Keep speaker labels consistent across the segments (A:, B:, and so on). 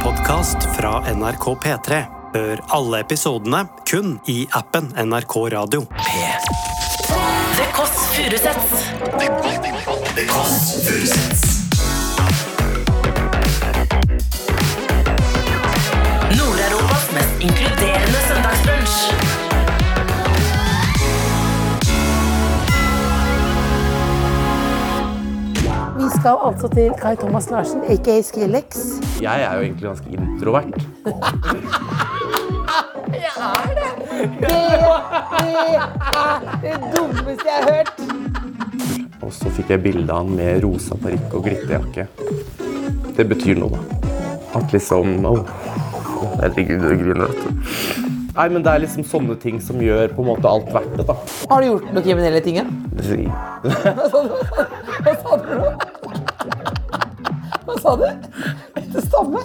A: podkast fra NRK P3. Hør alle episodene kun i appen NRK Radio.
B: Det Kåss Furuseths. Nord-Europas mest inkluderende søndagsbrunsj.
C: Vi skal altså til Kai Thomas Larsen, aka Skrillex.
D: Jeg er jo egentlig ganske introvert.
C: Det dummeste jeg har hørt.
D: Og så fikk jeg bilde av han med rosa parykk og glitterjakke. Det betyr noe, da. At liksom Å, herregud, du griner, vet du. Nei, men det er liksom sånne ting som gjør på en måte alt verdt det, da.
C: Har du gjort noe kriminelle ting? ja? Hva sa du? Det samme.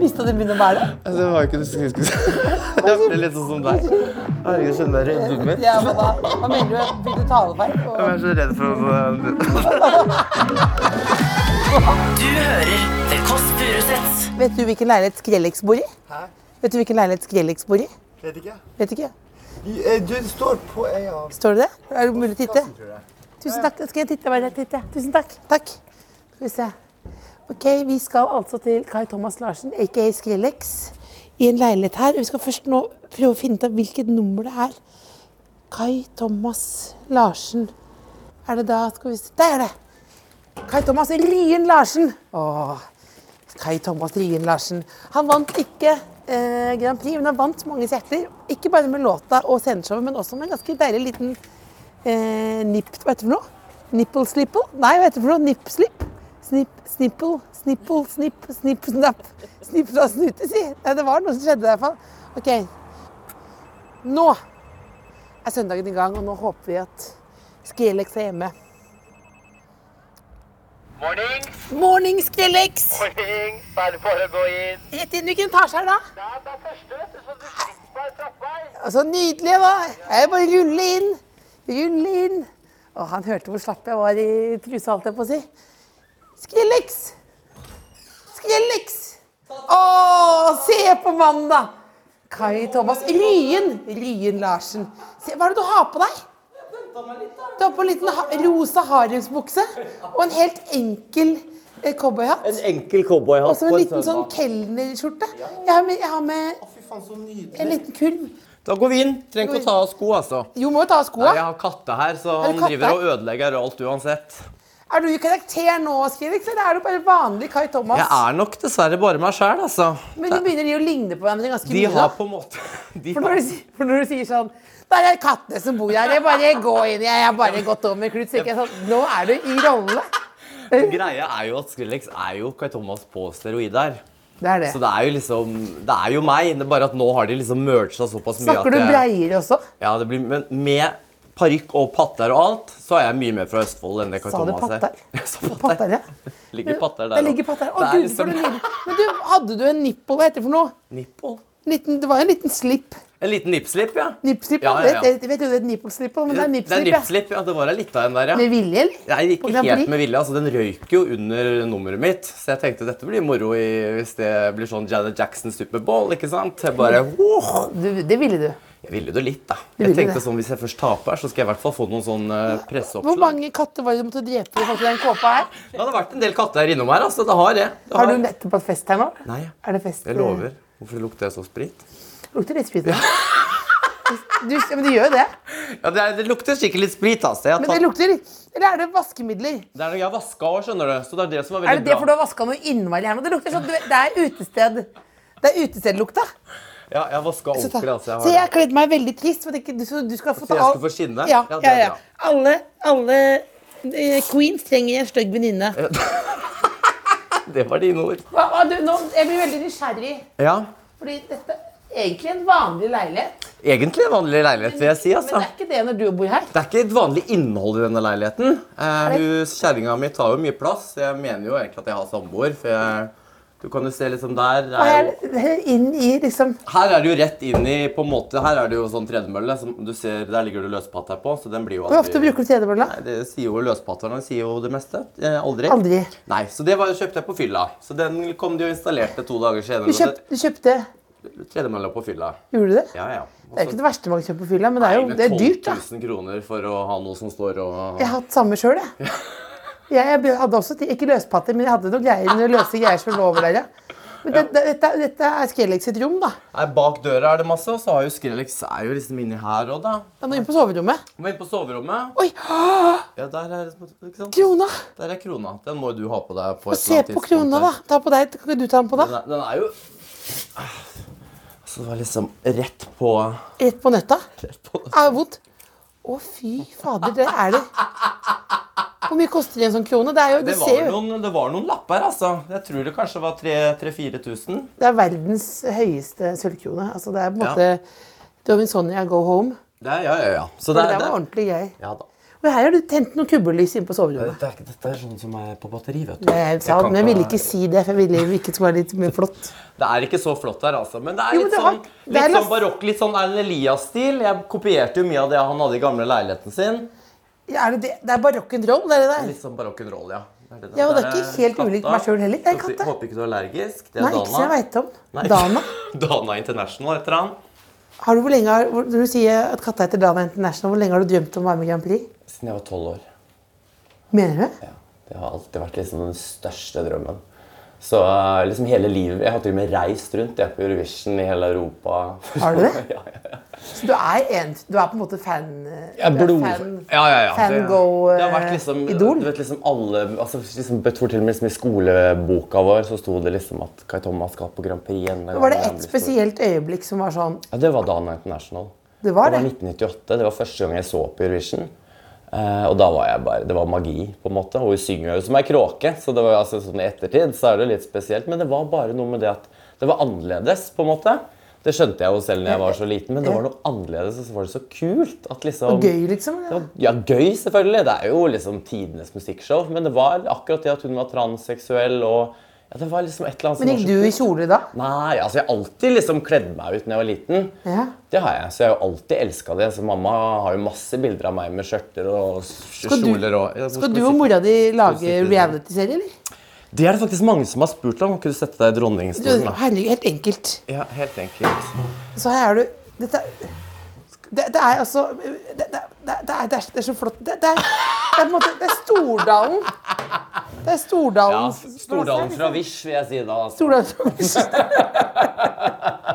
C: Visste du det begynte å bære?
D: Det var jo ikke det jeg skulle si. Jeg ble litt sånn som deg. Herregud, jeg skjønner jeg er redd meg.
C: Ja, men da, hva mener du? Begynte du talefeil? Og...
D: Jeg er så redd for å
B: Du hører The Kåss Furuseths.
C: Vet du hvilken leilighet Skrellex bor i? Vet du hvilken leilighet Skrellex bor i?
E: Vet ikke.
C: Vet ikke.
E: Du står på ei av
C: Står det det? Er det mulig å titte? Tusen takk. Skal jeg titte? Bare titte. Tusen takk. Takk. Skal vi se. Ok, vi skal altså til Kai Thomas Larsen, aka Skrillex, i en leilighet her. Vi skal først nå prøve å finne ut av hvilket nummer det er. Kai Thomas Larsen. Er det da Skal vi se. Der er det! Kai Thomas Rien Larsen. Åh. Kai Thomas Rien Larsen. Han vant ikke eh, Grand Prix, men han vant manges hjerter. Ikke bare med låta og sceneshowet, men også med en ganske deilig liten eh, nipp... Hva heter det for noe? Nipple slipple? Nei, hva heter det for noe? Nipp slipp? Snipp, snipple, snipple, snipp, snipp, snapp. Snipp fra snute, si. Nei, det var noe som skjedde i hvert fall. Ok. Nå er søndagen i gang, og nå håper vi at Skrelex er hjemme.
F: Morning,
C: Morning, Skrelex!
F: morning. Bare for å gå inn.
C: Rett inn. Hvilken etasje er det? da?
F: Ja, det er første, vet du, så du slipper meg trappevei.
C: Og Så Altså, nydelig, da. Jeg bare rulle inn. Rulle inn. Og han hørte hvor slapp jeg var i trusa, holdt jeg på å si. Skrillex! Skrillex! Å, se på mannen, da! Kai Thomas Ryen. Ryen Larsen. Se, hva er det du har på deg? Du har på en liten ha rosa haremsbukse og en helt enkel eh, cowboyhatt.
D: En enkel cowboyhatt
C: Og så en liten sånn kelnerskjorte. Jeg har med, jeg har med en liten kurv.
D: Da går vi inn. Trenger ikke å ta av sko, altså.
C: Jo, må jo ta av skoa.
D: Jeg har katta her, så
C: du
D: han
C: katta?
D: driver og ødelegger alt uansett.
C: Er du i karakter nå, Skrivix, eller er du bare vanlig Kai Thomas?
D: Jeg er nok dessverre bare meg sjæl, altså.
C: Men de begynner de å ligne på hverandre ganske
D: De
C: mye.
D: har
C: da.
D: på en måte de
C: For når, du, si- for når du sier sånn Det er kattene som bor her. Jeg bare går inn. Jeg har bare gått over med klut. så ikke jeg Sånn, nå er du i rolle.
D: Greia er jo at Skrillex er jo Kai Thomas på steroider.
C: Det er det.
D: Så det er jo liksom Det er jo meg, det er bare at nå har de liksom merga såpass mye
C: Snakker du
D: at jeg,
C: breier også?
D: Ja, det blir Men med parykk og patter og alt, så er jeg mye mer fra Østfold enn det Kai
C: Sa du
D: Thomas er.
C: patter?
D: Jeg sa
C: Patter,
D: patter.
C: ja.
D: Ligger patter der
C: Det ligger
D: også.
C: patter. Å,
D: Det er
C: gud, for
D: liksom-
C: en liten Men du, hadde du en nipple? Hva heter det for noe?
D: Nipple.
C: Liten, det var jo en liten slipp.
D: En liten nippslipp, ja.
C: Nippslipp?
D: Ja, ja, ja.
C: Vet, vet du det er nippelslipp, men det er
D: Det er
C: nippslipp, ja.
D: nippslipp, ja. Det var litt av en der, ja.
C: Med vilje, eller?
D: Nei,
C: På
D: ikke
C: Grand Prix?
D: helt med vilje. altså Den røyk jo under nummeret mitt. Så jeg tenkte dette blir moro i, hvis det blir sånn Janet Jackson Superbowl. ikke sant? Jeg bare, «Åh!»
C: Du, det ville du.
D: Jeg ville det litt, da.
C: Du
D: Jeg
C: ville
D: tenkte
C: det.
D: sånn, Hvis jeg først taper, så skal jeg i hvert fall få noen sånn eh,
C: Hvor
D: presseoppslag.
C: mange katter var det du måtte drepe for å få til den kåpa her?
D: Det hadde vært en del katter her innom her. altså, Det har jeg. Det
C: Har du
D: jeg.
C: nettopp hatt fest her nå?
D: Nei,
C: Er det fest?
D: jeg lover. Hvorfor lukter jeg så sprit?
C: Lukter litt sprit. Du, ja, men det gjør jo det.
D: Ja, Det, er, det lukter sikkert litt sprit. altså. Jeg har
C: Men det
D: tatt...
C: lukter Eller er det vaskemidler?
D: Det er noe jeg har vaska òg, skjønner du. Så det er det som
C: Er
D: er
C: det
D: veldig
C: det for du
D: bra.
C: har vaska noe innmari her nå? Det lukter sånn du vet, Det er utested. Det er utestedlukta.
D: Ja, jeg har vasket
C: Så,
D: ordentlig. altså.
C: jeg
D: Jeg har...
C: har kledd meg veldig trist. For jeg tenker, du, så du skal få
D: Så jeg
C: ta-
D: skal få skinne?
C: Ja,
D: Ja, det
C: ja,
D: er
C: ja.
D: bra.
C: Alle, alle eh, queens trenger en stygg venninne.
D: det. Det var dine ord.
C: Hva- hva- du, nå- Jeg blir veldig nysgjerrig,
D: Ja.
C: fordi dette er egentlig en vanlig leilighet.
D: Egentlig en vanlig leilighet, vil jeg si. altså.
C: Men det er ikke det når du bor her.
D: Det er ikke et vanlig innhold i denne leiligheten. Eh,
C: det-
D: hun- Kjerringa mi tar jo mye plass. Jeg mener jo egentlig at jeg har samboer, for jeg Du kan jo se liksom der
C: Og
D: er jo,
C: her inn i liksom
D: Her er det jo rett inn i på en måte, Her er det jo sånn tredemølle. Som du ser, der ligger det løspatt her på. så den blir jo
C: Hvor ofte bruker du tredemølla?
D: Nei, det sier jo løspatterne sier jo det meste. Eh, aldri.
C: Aldri.
D: Nei, Så det var, kjøpte jeg på fylla. Så den kom de og installerte to dager senere.
C: Du, kjøpt, du kjøpte
D: Tredemølla på fylla.
C: Gjorde du det?
D: Ja, ja.
C: Det er jo ikke det verste man kjøper på fylla, men det er jo det er dyrt, da.
D: 12 000 kroner for å ha noe som står og
C: Jeg har hatt samme sjøl, jeg. jeg. Jeg be- hadde også ti- ikke løspatter, men jeg hadde noen greier, noen løse greier som lå over der, ja. Men det, det, dette, dette er Skrellex sitt rom, da.
D: Nei, Bak døra er det masse, og så har jo Skrellex er jo liksom inni her òg, da.
C: Da må vi inn på soverommet.
D: Må inn på soverommet.
C: Oi!
D: Ja, der er, ikke sant?
C: Krona!
D: Der er krona. Den må jo du ha på deg. på et
C: Se
D: eller annet
C: på
D: tidspunkt
C: krona,
D: her.
C: da. Ta på deg. Kan ikke du ta den på,
D: Den
C: da?
D: er, den er jo Ah, Så det var liksom rett på
C: Rett på nøtta.
D: Rett på
C: Er det vondt? Å, fy fader, det er det. Hvor mye koster en sånn krone? Det er jo, det
D: Det var
C: ser jo
D: noen, det var noen lapper, altså. Jeg tror det kanskje var 3000-4000.
C: Det er verdens høyeste sølvkrone. Altså, det er på en måte Dovinsonia sånn go home.
D: Ja, ja, ja, ja. Så
C: Det
D: det, er-
C: der var
D: det,
C: ordentlig gøy.
D: ja da.
C: Og her har du tent noen kubbelys inne på soverommet.
D: Dette er, ikke- dette er sånn som er på batteri, vet du.
C: Jeg sa,
D: Jeg kan
C: men jeg ville
D: ikke-
C: ikke si det, for jeg ville jo ikke det skulle være litt mer flott.
D: Det er ikke så flott her, altså. Men det er
C: Jo,
D: litt,
C: men det har-
D: sånn,
C: det er
D: litt sånn
C: las-
D: barokk, litt sånn Erlend Elias-stil. Jeg kopierte jo mye av det han hadde i gamle leiligheten sin.
C: Ja, er det, det? det er barock'n'roll, det er det der.
D: Litt sånn barokk roll, ja. Det er det der.
C: Ja, og det er
D: Der eh,
C: ikke helt
D: katta.
C: ulikt meg selv heller. Det er
D: Håper-
C: katta.
D: Håper ikke du er allergisk. Det er
C: Nei,
D: Dana.
C: ikke som jeg veit om.
D: Nei.
C: Dana.
D: Dana International heter han.
C: Har du hvor lenge har, hvor, Når du sier at katta heter Dana International, hvor lenge har du drømt om å være med i Grand Prix?
D: Siden jeg var tolv år.
C: Mener du?
D: Ja, Det har alltid vært liksom den største drømmen. Så eh, liksom hele livet Jeg har til og med reist rundt jeg, på Eurovision i hele Europa.
C: Har du det?
D: ja, ja, ja.
C: Så du er, en, du er på en måte fan... eh,
D: Jeg er
C: du er
D: blod...
C: fan-
D: ja, ja, ja. Det-
C: fangirl, eh,
D: det har vært liksom,
C: idol.
D: Du vet, liksom alle altså, liksom, Jeg tror til og med liksom, i skoleboka vår så sto det liksom at Kai Thomas skal på Grand Prix. igjen.
C: Var det ett spesielt øyeblikk som var sånn
D: Ja, det var Dana International.
C: Det var det?
D: 1998. Det var første gang jeg så på Eurovision. Eh, og da var jeg bare, Det var magi, på en måte. Og hun synger jo som ei kråke. Så det var altså sånn i ettertid så er det jo litt spesielt. Men det var bare noe med det at det var annerledes, på en måte. Det skjønte jeg jo selv når jeg var så liten, men det var noe annerledes, og så var det så kult. at liksom...
C: Og gøy, liksom?
D: Det
C: eller?
D: var, ja, gøy selvfølgelig. Det er jo liksom tidenes musikkshow. Men det var akkurat det at hun var transseksuell og ja, Det var liksom et eller annet
C: Men
D: som
C: gikk
D: var så
C: du i
D: kult.
C: kjole da?
D: Nei, altså jeg har alltid liksom kledd meg ut når jeg var liten.
C: Ja.
D: Det har jeg, så jeg har jo alltid elska det. Så mamma har jo masse bilder av meg med skjørter og s-
C: du-
D: kjoler og ja,
C: Skal du og mora di lage
D: Musikkvideo.
C: reality-serie, eller?
D: Det er det faktisk mange som har spurt om. Kunne du sette deg i dronningstolen? da?
C: Herregud, helt enkelt.
D: Ja, helt enkelt.
C: Så her er du Dette er- det, det er altså det, det, det, det, er, det, er, det er så flott. Det, det, er, det er på en måte Det er Stordalen. Det er
D: Ja,
C: Stordalen.
D: Stordalen fra Vish, vil jeg si da. altså.
C: Stordalen fra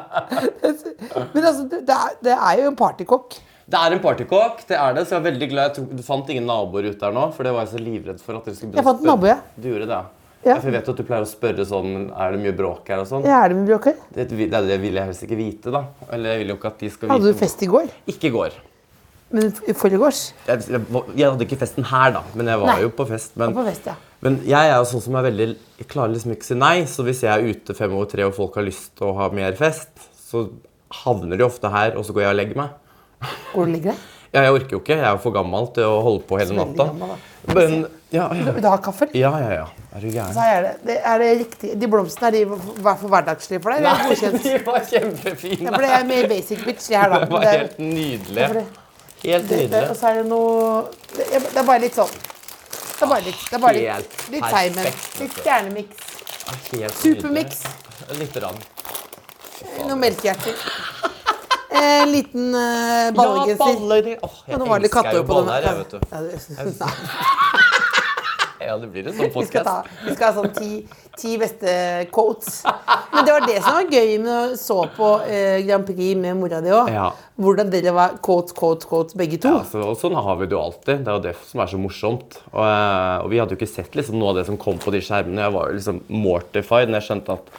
C: Men altså, det, det er, det er jo en partykokk.
D: Det er en partykåk, det er det, så jeg er veldig glad. Jeg tror, du fant ingen naboer ut der nå, for det var jeg så livredd for at dere skulle begynne
C: Jeg
D: å
C: fant en
D: spørre.
C: nabo, ja.
D: Du gjorde det, ja.
C: Ja.
D: Ja, for jeg vet at du pleier å spørre sånn, er det mye bråk her og sånn.
C: Jeg er det med Bråker.
D: Det, det, er det vil jeg helst ikke vite da. Eller jeg vil jo ikke at de skal vite.
C: Hadde du fest i går?
D: Ikke i går.
C: Men i forgårs?
D: jeg, jeg, var- jeg hadde ikke festen her, da, men jeg var
C: Nei.
D: jo på fest. Men,
C: Var på fest, ja.
D: men jeg er jo sånn som er veldig jeg klarer liksom ikke å si nei. Så hvis jeg er ute fem over tre og folk har lyst til å ha mer fest, så havner de ofte her, og så går jeg og legger meg.
C: Går du og ligger deg?
D: Ja, jeg orker jo ikke. Jeg er for gammel til å holde på hele
C: Så veldig
D: natta.
C: gammel,
D: Men ja, ja,
C: Vil du ha kaffe? eller?
D: ja, ja, ja. Er du gæren?
C: Så her er det. det, er det riktig. De blomstene er de hver for hverdagslige for deg? eller er det godkjent?
D: de var kjempefine.
C: Ja, for det er mer basic bitch, det her, da.
D: Det var
C: Men det er-
D: helt nydelig.
C: for det-
D: Helt
C: Det- det- Og
D: nydelig.
C: så er det noe Det er det er bare litt sånn. Det er bare litt, det er bare litt,
D: Helt
C: litt Simon.
D: perfekt,
C: Litt stjernemiks.
D: Helt
C: Supermix.
D: nydelig. Lite grann.
C: Noen melkehjerter. En liten uh,
D: Ja,
C: ballegenser.
D: ballegenser. Åh,
C: Og
D: jeg
C: noen vanlige
D: elsker
C: katter
D: jo
C: på den.
D: baller, jeg, vet du.
C: Ja, det- Nei,
D: Ja, det blir en sånn
C: vi, skal ta,
D: podcast.
C: vi skal ha sånn ti, ti beste quotes. Men det var det som var gøy med å så på eh, Grand Prix med mora di òg.
D: Ja.
C: Hvordan dere var quotes, quotes, quotes begge to.
D: Ja, altså, og sånn har vi det jo alltid. Det er jo det som er så morsomt. Og, eh, og vi hadde jo ikke sett liksom, noe av det som kom på de skjermene. Jeg var jo liksom mortified når jeg skjønte at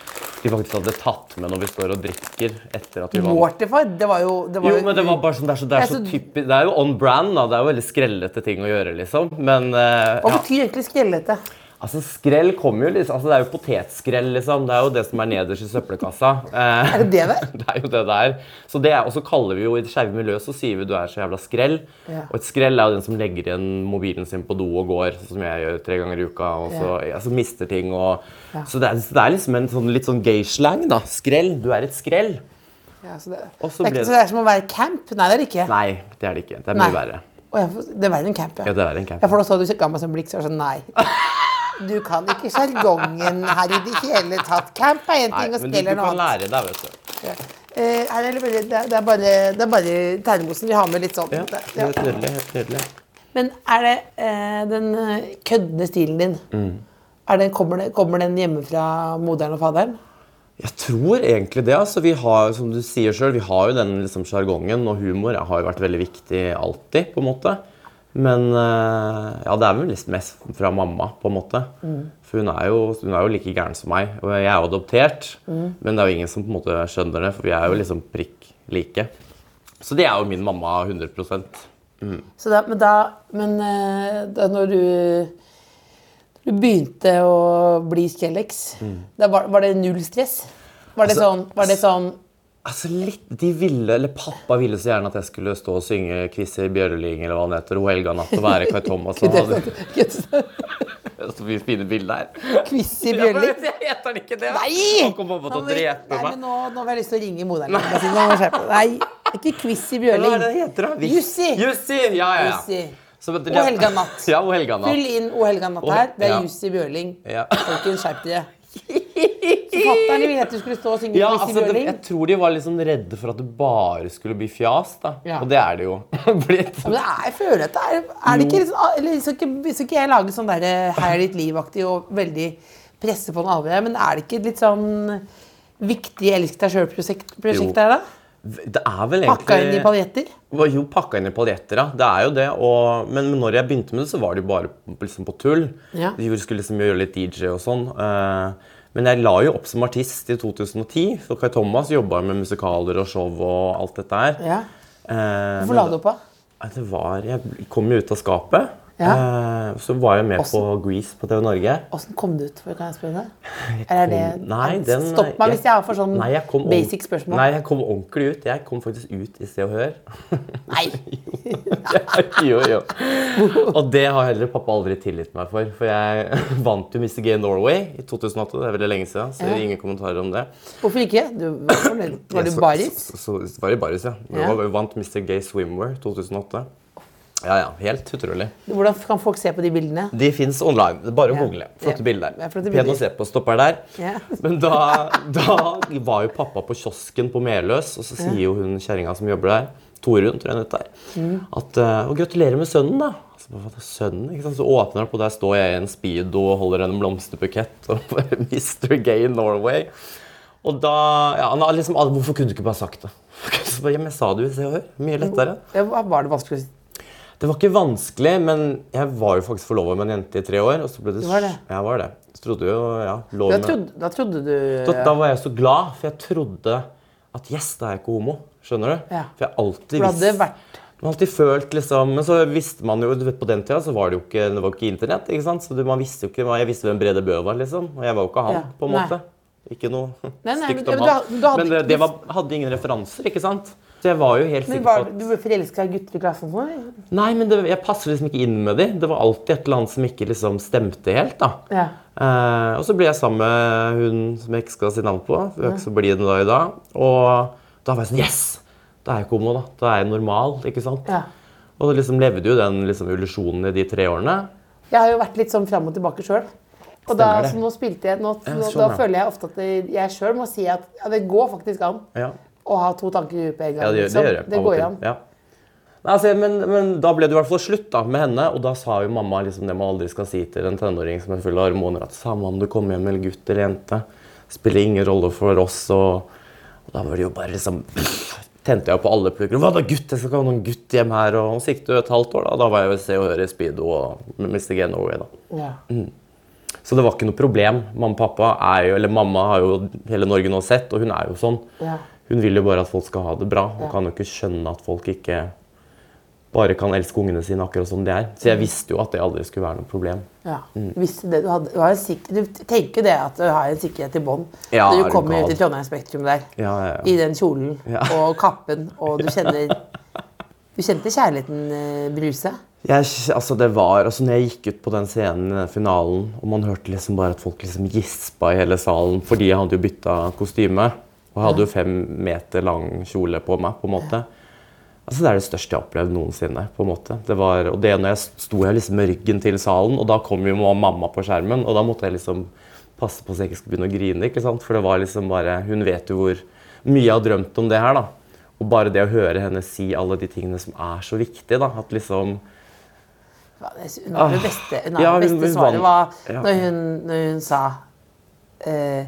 D: de faktisk hadde tatt med når vi står og drikker etter at vi vant.
C: Mortified, det var jo det var
D: Jo,
C: jo-
D: men det var bare sånn, det er så, det er
C: Jeg
D: så
C: er så-
D: typisk Det er jo on brand, da. Det er jo veldig skrellete ting å gjøre, liksom. Men eh,
C: Hva
D: ja.
C: betyr egentlig skrellete?
D: Altså, Skrell kommer jo liksom, altså Det er jo potetskrell, liksom. Det er jo det som er nederst i søppelkassa. Eh,
C: Er det det der?
D: det er jo det der. Så det er, og så kaller vi jo i det skeive miljøet så sier vi du er så jævla skrell.
C: Ja.
D: Og et skrell er jo den som legger igjen mobilen sin på do og går, sånn som jeg gjør tre ganger i uka. Og så altså, mister ting og
C: Ja.
D: Så det er, så det er liksom en sånn, litt sånn gay-slang, da. Skrell. Du er et skrell.
C: Ja, så det,
D: Og så
C: det er
D: ble
C: ikke
D: det-
C: så det er som å være i camp? Nei, det er det ikke.
D: Nei, det er det ikke. Det er
C: Nei.
D: mye verre.
C: Å, jeg får- det er verre enn camp,
D: Ja, det er verre enn camp.
C: Ja, for da så du ga meg sånn blikk, så var det sånn nei. Du kan ikke sjargongen her i det hele tatt. Camp er én
D: Nei,
C: ting, og
D: men du,
C: skrell
D: du
C: er noe
D: kan
C: annet.
D: lære deg, vet du.
C: Eh, her er det, veldig, det, er- det er bare, det er bare termosen vi har med litt sånn.
D: Ja,
C: Det- ja.
D: helt nydelig. Helt nydelig.
C: Men er det eh, den eh, køddende stilen din er den, kommer, den, kommer den hjemme fra moderen og faderen?
D: Jeg tror egentlig det. altså Vi har som du sier selv, vi har jo den liksom sjargongen, og humor har jo vært veldig viktig alltid. på en måte. Men eh, ja, det er vel liksom mest fra mamma, på en måte. For hun er, jo, hun er jo like gæren som meg. Og jeg er jo adoptert, men det er jo ingen som på en måte skjønner det, for vi er jo liksom prikk like. Så det er jo min mamma 100
C: Så da, men da, men, eh, da når du, du begynte å bli Skrellex, da var, var det null stress? Var det
D: Altså-
C: sånn, var det sånn
D: Altså litt, de ville, eller Pappa ville så gjerne at jeg skulle stå og synge 'Kvisser Bjørneling' eller hva han heter, og 'Helga natt' og være Kai Thomas. Han hadde så mye fine bilder her.
C: Quiz i Bjørling?
D: Jeg heter den ikke det.
C: Nei!
D: Nå kommer mamma til
C: Nå må
D: å
C: vi-
D: drepe
C: Nei, men
D: meg.
C: nå, nå har jeg lyst til å ringe moderen min. og si, Nå må jeg skjerpe deg. Nei, det er ikke quiz i
D: Hva er det
C: Bjørling.
D: det heter, da?
C: Jussi.
D: Jussi! Ja, ja, ja.
C: Jussi.
D: Så vet du-
C: Og Helga Natt.
D: Ja, og Helga
C: Fyll
D: Natt.
C: inn O helga natt her. Det
D: Ja.
C: er Jussi Bjørling.
D: Ja.
C: Folkens, skjerp dere. Så Fatter'n ville at du skulle stå og synge
D: Ja,
C: quiz i
D: altså, det,
C: Bjørling.
D: jeg tror de var liksom redde for at det bare skulle bli fjas, da.
C: Ja.
D: Og det er det jo blitt.
C: Men det er, jeg føler at det er, er det ikke litt sånn, eller Skal ikke, skal ikke jeg lage sånn der eh, Her er ditt liv-aktig og veldig presse på den alvor, her, men er det ikke et litt sånn viktig elsk deg sjøl-prosjekt
D: Jo.
C: prosjekt her, da?
D: Det er vel egentlig
C: Pakka inn i paljetter?
D: var jo pakka inn i paljetter, ja. Det er jo det. Og, men men når jeg begynte med det, så var det jo bare liksom, på tull.
C: Ja.
D: De gjorde- skulle liksom gjøre litt DJ og sånn. eh, men jeg la jo opp som artist i 2010. For Kai Thomas jobba jo med musikaler og show og alt dette her.
C: Ja.
D: Eh,
C: Hvorfor la du opp, da?
D: Nei, Det var, jeg kom jo ut av skapet.
C: Ja.
D: Eh, så var jeg med
C: Åssen-
D: på Grease på TV Norge.
C: Åssen kom du ut? for Kan jeg spørre om det? Eller er det
D: Kom- nei, den,
C: Stopp meg hvis jeg har for sånn
D: Nei, jeg kom ord-
C: basic spørsmål.
D: Nei, jeg kom ordentlig ut. Jeg kom faktisk ut i Se og Hør.
C: Nei.
D: jo, jo. Og det har heller pappa aldri tilgitt meg for. For jeg vant jo Mr. Gay Norway i 2008. Det er veldig lenge siden. Så
C: Ja.
D: ingen kommentarer om det.
C: Hvorfor ikke? Du var fornøyd. Var
D: Så-
C: du baris?
D: Så, så, så var det baris, ja. Jeg
C: Ja.
D: var- vant Mr. Gay Swimwear 2008. Ja, ja. Helt utrolig.
C: Hvordan kan folk se på de bildene?
D: De fins online. Det er bare å
C: Ja.
D: google. Flotte
C: Ja.
D: bilder.
C: Ja, flotte
D: Pen
C: bilder.
D: å se på. Stopper der.
C: Ja.
D: Men da, da var jo pappa på kiosken på Meløs, og så sier jo hun kjerringa som jobber der, Torunn, tror jeg hun heter,
C: Mm.
D: at eh, «Å, gratulerer med sønnen, da. Og Så, bare, «Hva da, sønnen, ikke sant? så åpner han opp, og der står jeg i en speedo og holder en blomsterbukett. Og bare Mr. Gay Norway. Og da ja, han har liksom, «Ah, Hvorfor kunne du ikke bare sagt det? Så bare, ja, men jeg sa det jo i Se og Hør. Mye lettere.
C: Ja, hva- Var det vanskelig? å si?
D: Det var ikke vanskelig, men jeg var jo faktisk forlova med en jente i tre år. og så ble det...
C: Du var det?
D: Ja, Jeg var det. Så trodde jo, ja, lå
C: Da
D: med-
C: trodde, da trodde du
D: Da, da var jeg så glad, for jeg trodde at yes, da er jeg ikke homo. Skjønner du?
C: Ja.
D: For jeg alltid
C: For det hadde vært-
D: Man har alltid følt liksom, Men så visste man jo du vet, På den tida så var det jo ikke, det var jo ikke internett. ikke sant? Så det, man visste jo ikke, Jeg visste hvem Brede Bø var, liksom. Og jeg var jo ikke han,
C: Ja.
D: på en
C: Nei.
D: måte. Ikke noe
C: Nei, nei, men-
D: stygt
C: ja, men du
D: om han.
C: hadde- du hadde
D: men eh, det,
C: ikke
D: det var, hadde ingen referanser, ikke sant? Så jeg var jo helt
C: Men
D: sikker
C: var,
D: på at
C: Du ble forelska i gutter i klassen? og Sånn, eller?
D: Nei, men det, jeg passer liksom ikke inn med de. Det var alltid et eller annet som ikke liksom stemte helt. da.
C: Ja.
D: Eh, og så ble jeg sammen med hun som jeg ikke skal si navn på. for Jeg er ikke så blid den dag i dag. Og da var jeg sånn Yes! Da er jeg ikke homo, da. Da er jeg normal. ikke sant?
C: Ja.
D: Og liksom levde jo den liksom illusjonen i de tre årene.
C: Jeg har jo vært litt sånn fram og tilbake sjøl. Og da,
D: Stemmer det.
C: så nå spilte jeg, nå,
D: Ja,
C: nå,
D: sånn,
C: da
D: ja.
C: føler jeg ofte at det- jeg sjøl må si at ja, det går faktisk an
D: Ja,
C: å ha to tanker i huet på en gang.
D: ja det, gjør-
C: liksom.
D: det gjør jeg.
C: det
D: av og
C: går
D: til.
C: an.
D: Ja. Nei, altså, men, men da ble det i hvert fall slutt da, med henne. Og da sa jo mamma liksom det man aldri skal si til en tenåring som er full av hormoner. At samme om du kommer hjem med en gutt eller jente, spiller ingen rolle for oss. Og, og da var det jo bare liksom Tente jeg på alle plugger. Hva da, gutt? Jeg skal ikke ha noen gutt hjem her. Og så gikk det jo et halvt år, da. Da var jeg jo i Se og Hør i Speedo og Mr. G Norway, da.
C: Ja.
D: Så det var ikke noe problem. Mamma og pappa er jo, eller mamma har jo hele Norge nå sett, og hun er jo sånn.
C: Ja.
D: Hun vil jo bare at folk skal ha det bra. Hun
C: Ja.
D: kan jo ikke skjønne at folk
C: Mm.
D: ikke bare kan elske ungene sine akkurat som de er. Så jeg visste jo at det aldri skulle være noe problem.
C: Ja. Visste det du hadde. Du, har en sik du tenker det at du har en sikkerhet i bånn
D: Ja,
C: når
D: er
C: du
D: du
C: kommer
D: gal.
C: ut i Trondheim Spektrum der.
D: Ja, ja, ja.
C: I den kjolen
D: Ja.
C: og kappen, og du kjenner Du kjente kjærligheten eh, bruse?
D: Jeg, altså det var, altså når jeg gikk ut på den scenen i den finalen, og man hørte liksom bare at folk liksom gispa i hele salen fordi jeg hadde jo bytta kostyme. Og jeg hadde jo fem meter lang kjole på meg. på en måte. Altså Det er det største jeg har opplevd noensinne. på en måte. Det var, og det når jeg sto jeg liksom med ryggen til salen, og da kom jo mamma på skjermen. Og da måtte jeg liksom passe på så jeg ikke skulle begynne å grine. ikke sant? For det var liksom bare, Hun vet jo hvor mye jeg har drømt om det her. da. Og bare det å høre henne si alle de tingene som er så viktige. da, at liksom...
C: Ja, det sy- Hun har det beste, hun har
D: Ah, Ja,
C: det
D: hun-
C: beste
D: hun
C: svaret var
D: vant. Ja.
C: når hun, når hun sa eh,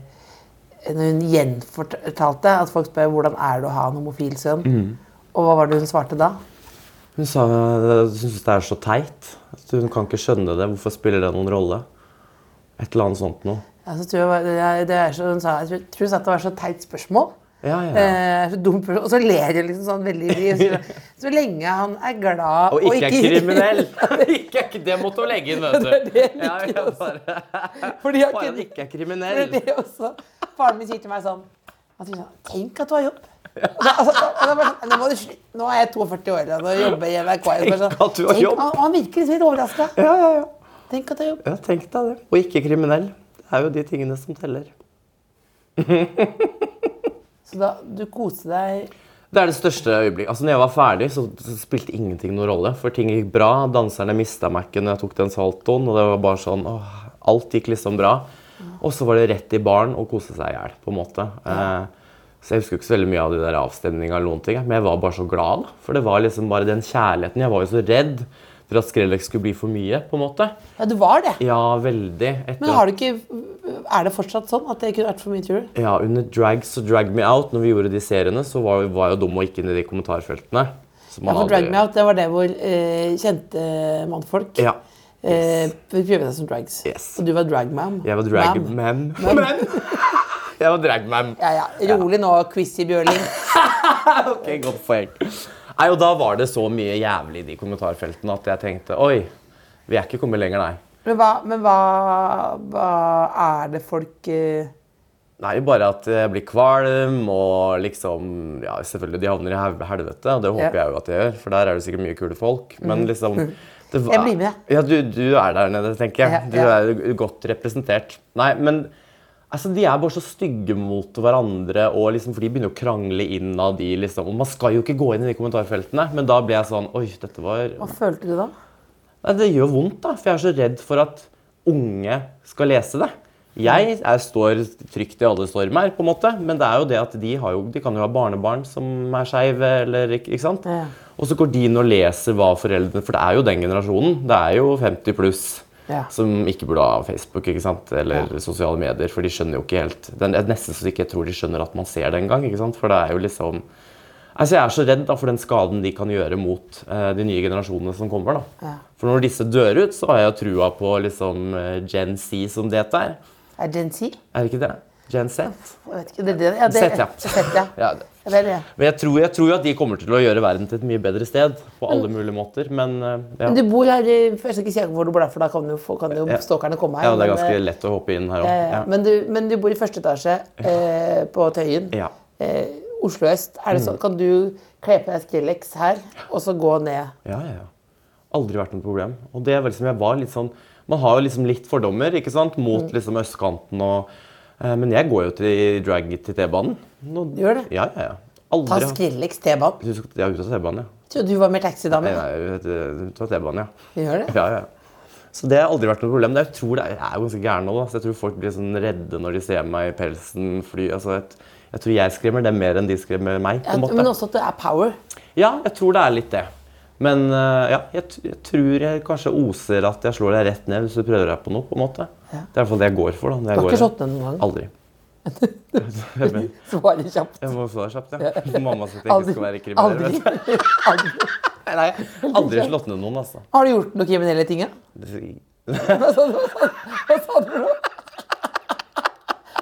C: Når hun gjenfortalte at folk spør hvordan er det å ha en homofil sønn,
D: Mm.
C: og hva var det hun svarte da?
D: Hun sa hun syns det er så teit. At hun kan ikke skjønne det. Hvorfor spiller det noen rolle? Et eller annet sånt noe.
C: Ja, så tror jeg, bare- det er- det er så, hun sa, jeg tror, tror hun sa at det var så teit spørsmål.
D: Ja, ja, ja.
C: Eh, så dumt, spørsmål, og så ler hun liksom sånn veldig ivrig. og så- Så lenge han er glad
D: Og ikke er kriminell! ikke, er- det måtte hun legge inn, vet
C: Det er
D: du.
C: det jeg
D: Ja,
C: liker
D: ja,
C: også.
D: bare,
C: Fordi han
D: bare
C: kunne
D: han ikke er kriminell.
C: Det er det også. Faren min sier til meg sånn han sier sånn, Tenk at du har jobb. Og da- altså, og da bare sånn, nå, må du slutte. nå er jeg 42 år og nå jobber jeg i NRK. Jeg bare sånn,
D: Tenk at du har
C: tenk-
D: jobb.
C: Og han virker liksom litt overraska.
D: Ja, ja, ja.
C: Tenk at du har jobb.
D: ja, tenk deg det. Og ikke kriminell. Det er jo de tingene som teller.
C: Så da, du koste deg
D: Det er det største øyeblikket. Altså, når jeg var ferdig, så så spilte ingenting noen rolle. For ting gikk bra. Danserne mista meg ikke når jeg tok den saltoen. Og det var bare sånn åh, Alt gikk liksom bra. Og så var det rett i baren og kose seg i hjel, på en måte. Eh, så jeg husker ikke så veldig mye av de der avstemningene eller noen ting. Men jeg var bare så glad. da. For det var liksom bare den kjærligheten. Jeg var jo så redd for at Skrellex skulle bli for mye, på en måte.
C: Ja, du var det.
D: Ja, veldig. Etter
C: Men har du ikke Er det fortsatt sånn at det kunne vært for mye, tror du?
D: ja, under Drags og Drag Me Out, når vi gjorde de seriene, så var, var jeg jo dum og gikk inn i de kommentarfeltene. som
C: Ja,
D: man
C: for
D: aldri-
C: Drag Me Out, det var det hvor eh, kjente mannfolk
D: Ja.
C: eh, prøvde seg som drags.
D: Yes.
C: Og du var dragmam.
D: Jeg var dragman.
C: Mam.
D: Jeg var dragman.
C: Ja, ja. Rolig nå, Chrissy Bjørling.
D: Ok, godt poeng. Nei, og da var det så mye jævlig i de kommentarfeltene at jeg tenkte oi, vi er ikke kommet lenger, nei.
C: Men hva, men hva, hva er det folk eh,
D: Nei, bare at jeg blir kvalm og liksom Ja, selvfølgelig, de havner i hel- helvete, og det
C: Ja.
D: håper
C: Mhm.
D: jeg jo at jeg gjør, for der er det sikkert mye kule folk, men liksom det var-
C: Jeg blir med.
D: Ja, du, du er der nede, tenker jeg.
C: Ja, ja.
D: Du er godt representert. Nei, men altså, de er bare så stygge mot hverandre, og liksom, for de begynner å krangle innad i liksom Og man skal jo ikke gå inn i de kommentarfeltene, men da ble jeg sånn Oi, dette var
C: Hva følte du da?
D: Nei, det gjør vondt, da. For jeg er så redd for at unge skal lese det. Jeg, er- står trygt i alle stormer, på en måte, men det er jo det at de, har jo, de kan jo ha barnebarn som er skeive, eller ikke ikke sant?
C: Ja.
D: Og så går de inn og leser hva foreldrene For det er jo den generasjonen. Det er jo 50 pluss
C: Ja.
D: som ikke burde ha Facebook ikke sant? eller sosiale medier, for de skjønner jo ikke helt Det er nesten så ikke jeg tror de skjønner at man ser det engang, ikke sant? For det er jo liksom Altså, jeg er så redd da, for den skaden de kan gjøre mot eh, de nye generasjonene som kommer. da.
C: Ja.
D: For når disse dør ut, så har jeg jo trua på liksom, eh, Gen Z som det heter.
C: Er det en si? Jeg
D: Er det ikke det? Gen Z?
C: vet ikke, det er det. Ja, det
D: Sett, ja.
C: Sett, ja.
D: Ja, det.
C: Ja, det er det.
D: Men jeg tror, jeg tror jo at de kommer til å gjøre verden til et mye bedre sted. På alle mulige måter. Men eh, ja.
C: Men du bor her i Jeg skal ikke si hvor du bor, der, for da kan jo, få- kan jo stalkerne komme her.
D: ja, det er
C: men,
D: ganske
C: eh,
D: lett å hoppe inn her
C: eh,
D: òg.
C: Men, du, men du bor i første etasje eh, på Tøyen.
D: Ja. Mm.
C: Eh, Oslo øst. Er det sånn, Kan du kle på deg Skrillex her, og så gå ned?
D: Ja, ja, ja. Aldri vært noe problem. Og det er vel som jeg var litt sånn Man har jo liksom litt fordommer ikke sant? mot
C: Mm.
D: liksom østkanten og eh, Men jeg går jo til drag til T-banen. Nå-
C: Gjør det?
D: Ja, ja, ja.
C: Ta
D: Aldri
C: Skrillex T-banen.
D: Jeg husker at jeg er ute av T-banen, ja.
C: Trodde du var mer taxidame.
D: Nei, nei, jeg er ute av T-banen, ja.
C: Vi Gjør det?
D: ja, ja. Så det har aldri vært noe problem. Det er- Jeg tror det er, jeg er jo ganske gæren nå, da. Så jeg tror folk blir sånn redde når de ser meg i pelsen fly. Altså, jeg, jeg tror jeg skremmer dem mer enn de skremmer meg. på
C: Ja,
D: en måte.
C: men også at det er power.
D: Ja, jeg tror det er litt det. Men eh, ja, jeg, t- jeg tror jeg kanskje oser at jeg slår deg rett ned hvis du prøver deg på noe. på en måte. Det er i hvert fall det jeg går for. da. når
C: Du
D: jeg
C: har
D: går
C: ikke
D: der.
C: slått ned noen gang?
D: Aldri. jeg
C: Svarer kjapt.
D: må få det kjapt, ja. For mamma syns jeg ikke skal være kriminell.
C: Aldri.
D: vet du.
C: Aldri.
D: Nei, aldri slått ned noen, altså.
C: Har du gjort noen kriminelle ting? da?
D: Det-
C: Hva sa du? Hva sa du? Hva sa du? nå?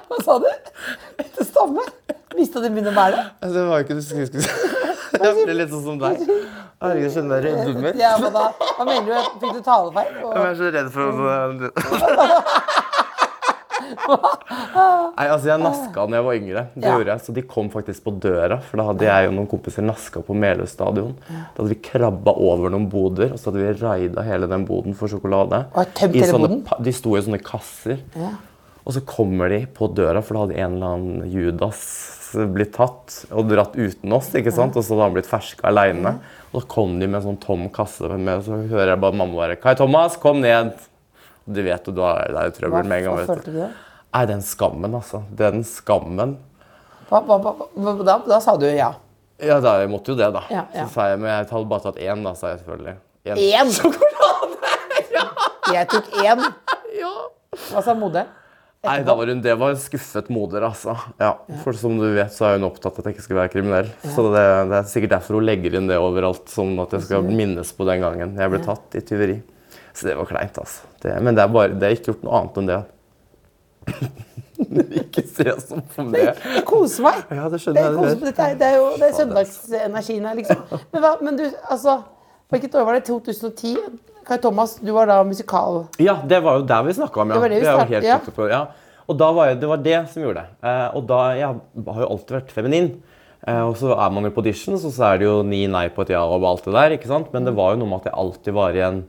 C: Hva sa du? Det stammer. Visste at det begynte å bære.
D: Altså, Det var jo ikke det jeg skulle si. Jeg blir litt sånn som deg. Herregud, jeg kjenner meg redd under.
C: Ja, hva da? Hva mener du? Fikk du talefeil? Og-
D: Jeg er så redd for å Nei, altså Jeg naska da jeg var yngre. Det
C: Ja.
D: gjorde jeg, Så de kom faktisk på døra. For da hadde jeg og noen kompiser naska på Meløy stadion. Da hadde vi krabba over noen boder, og så hadde vi raida hele den boden for sjokolade.
C: Og tømt
D: I
C: hele
D: sånne
C: boden?
D: pa- De sto i sånne kasser.
C: Ja.
D: Og så kommer de på døra, for da hadde en eller annen Judas blitt tatt og dratt uten oss. ikke sant? Og så hadde han blitt ferska aleine. Og da kom de med en sånn tom kasse, med, og så hører jeg bare mamma bare Kai Thomas, kom ned! Og du vet jo, da er det er jo
C: Hva,
D: trøbbel med en gang.
C: hva
D: vet
C: følte
D: du.
C: du da?
D: Nei, den skammen, altså. Den skammen.
C: Hva, hva, hva, hva, da? Da sa du ja.
D: Ja, da, jeg måtte jo det, da.
C: Ja, ja.
D: Så sa jeg, Men jeg hadde bare tatt én, da, sa jeg selvfølgelig. En.
C: Én sjokolade! Jeg tok én. Hva sa moderen?
D: Nei, da var hun, det var en skuffet moder, altså. Ja, For som du vet, så er hun opptatt av at jeg ikke skal være kriminell. Så det, det er sikkert derfor hun legger inn det overalt, sånn at jeg skal minnes på den gangen jeg ble tatt i tyveri. Så det var kleint, altså. Det, men det er, bare, det er ikke gjort noe annet enn det. ikke se sånn på meg.
C: Jeg koser meg.
D: Ja, det
C: Det
D: skjønner
C: er,
D: jeg.
C: kos-
D: det gjør.
C: dette er, det er jo det er søndagsenergien her, liksom. Men, hva, men du, altså Hvilket år var det? 2010? Kai Thomas, du var da musikal...
D: Ja, det var jo der vi snakka om, ja.
C: Det var det vi
D: er jo
C: startet,
D: helt
C: ja.
D: ute på, ja. Og da var jeg, det var det som gjorde det. Eh, og da, jeg har jo alltid vært feminin. Eh, og så er man jo på auditions, og så er det jo ni nei på et ja og alt det der. ikke sant? Men det var jo noe med at jeg alltid var i en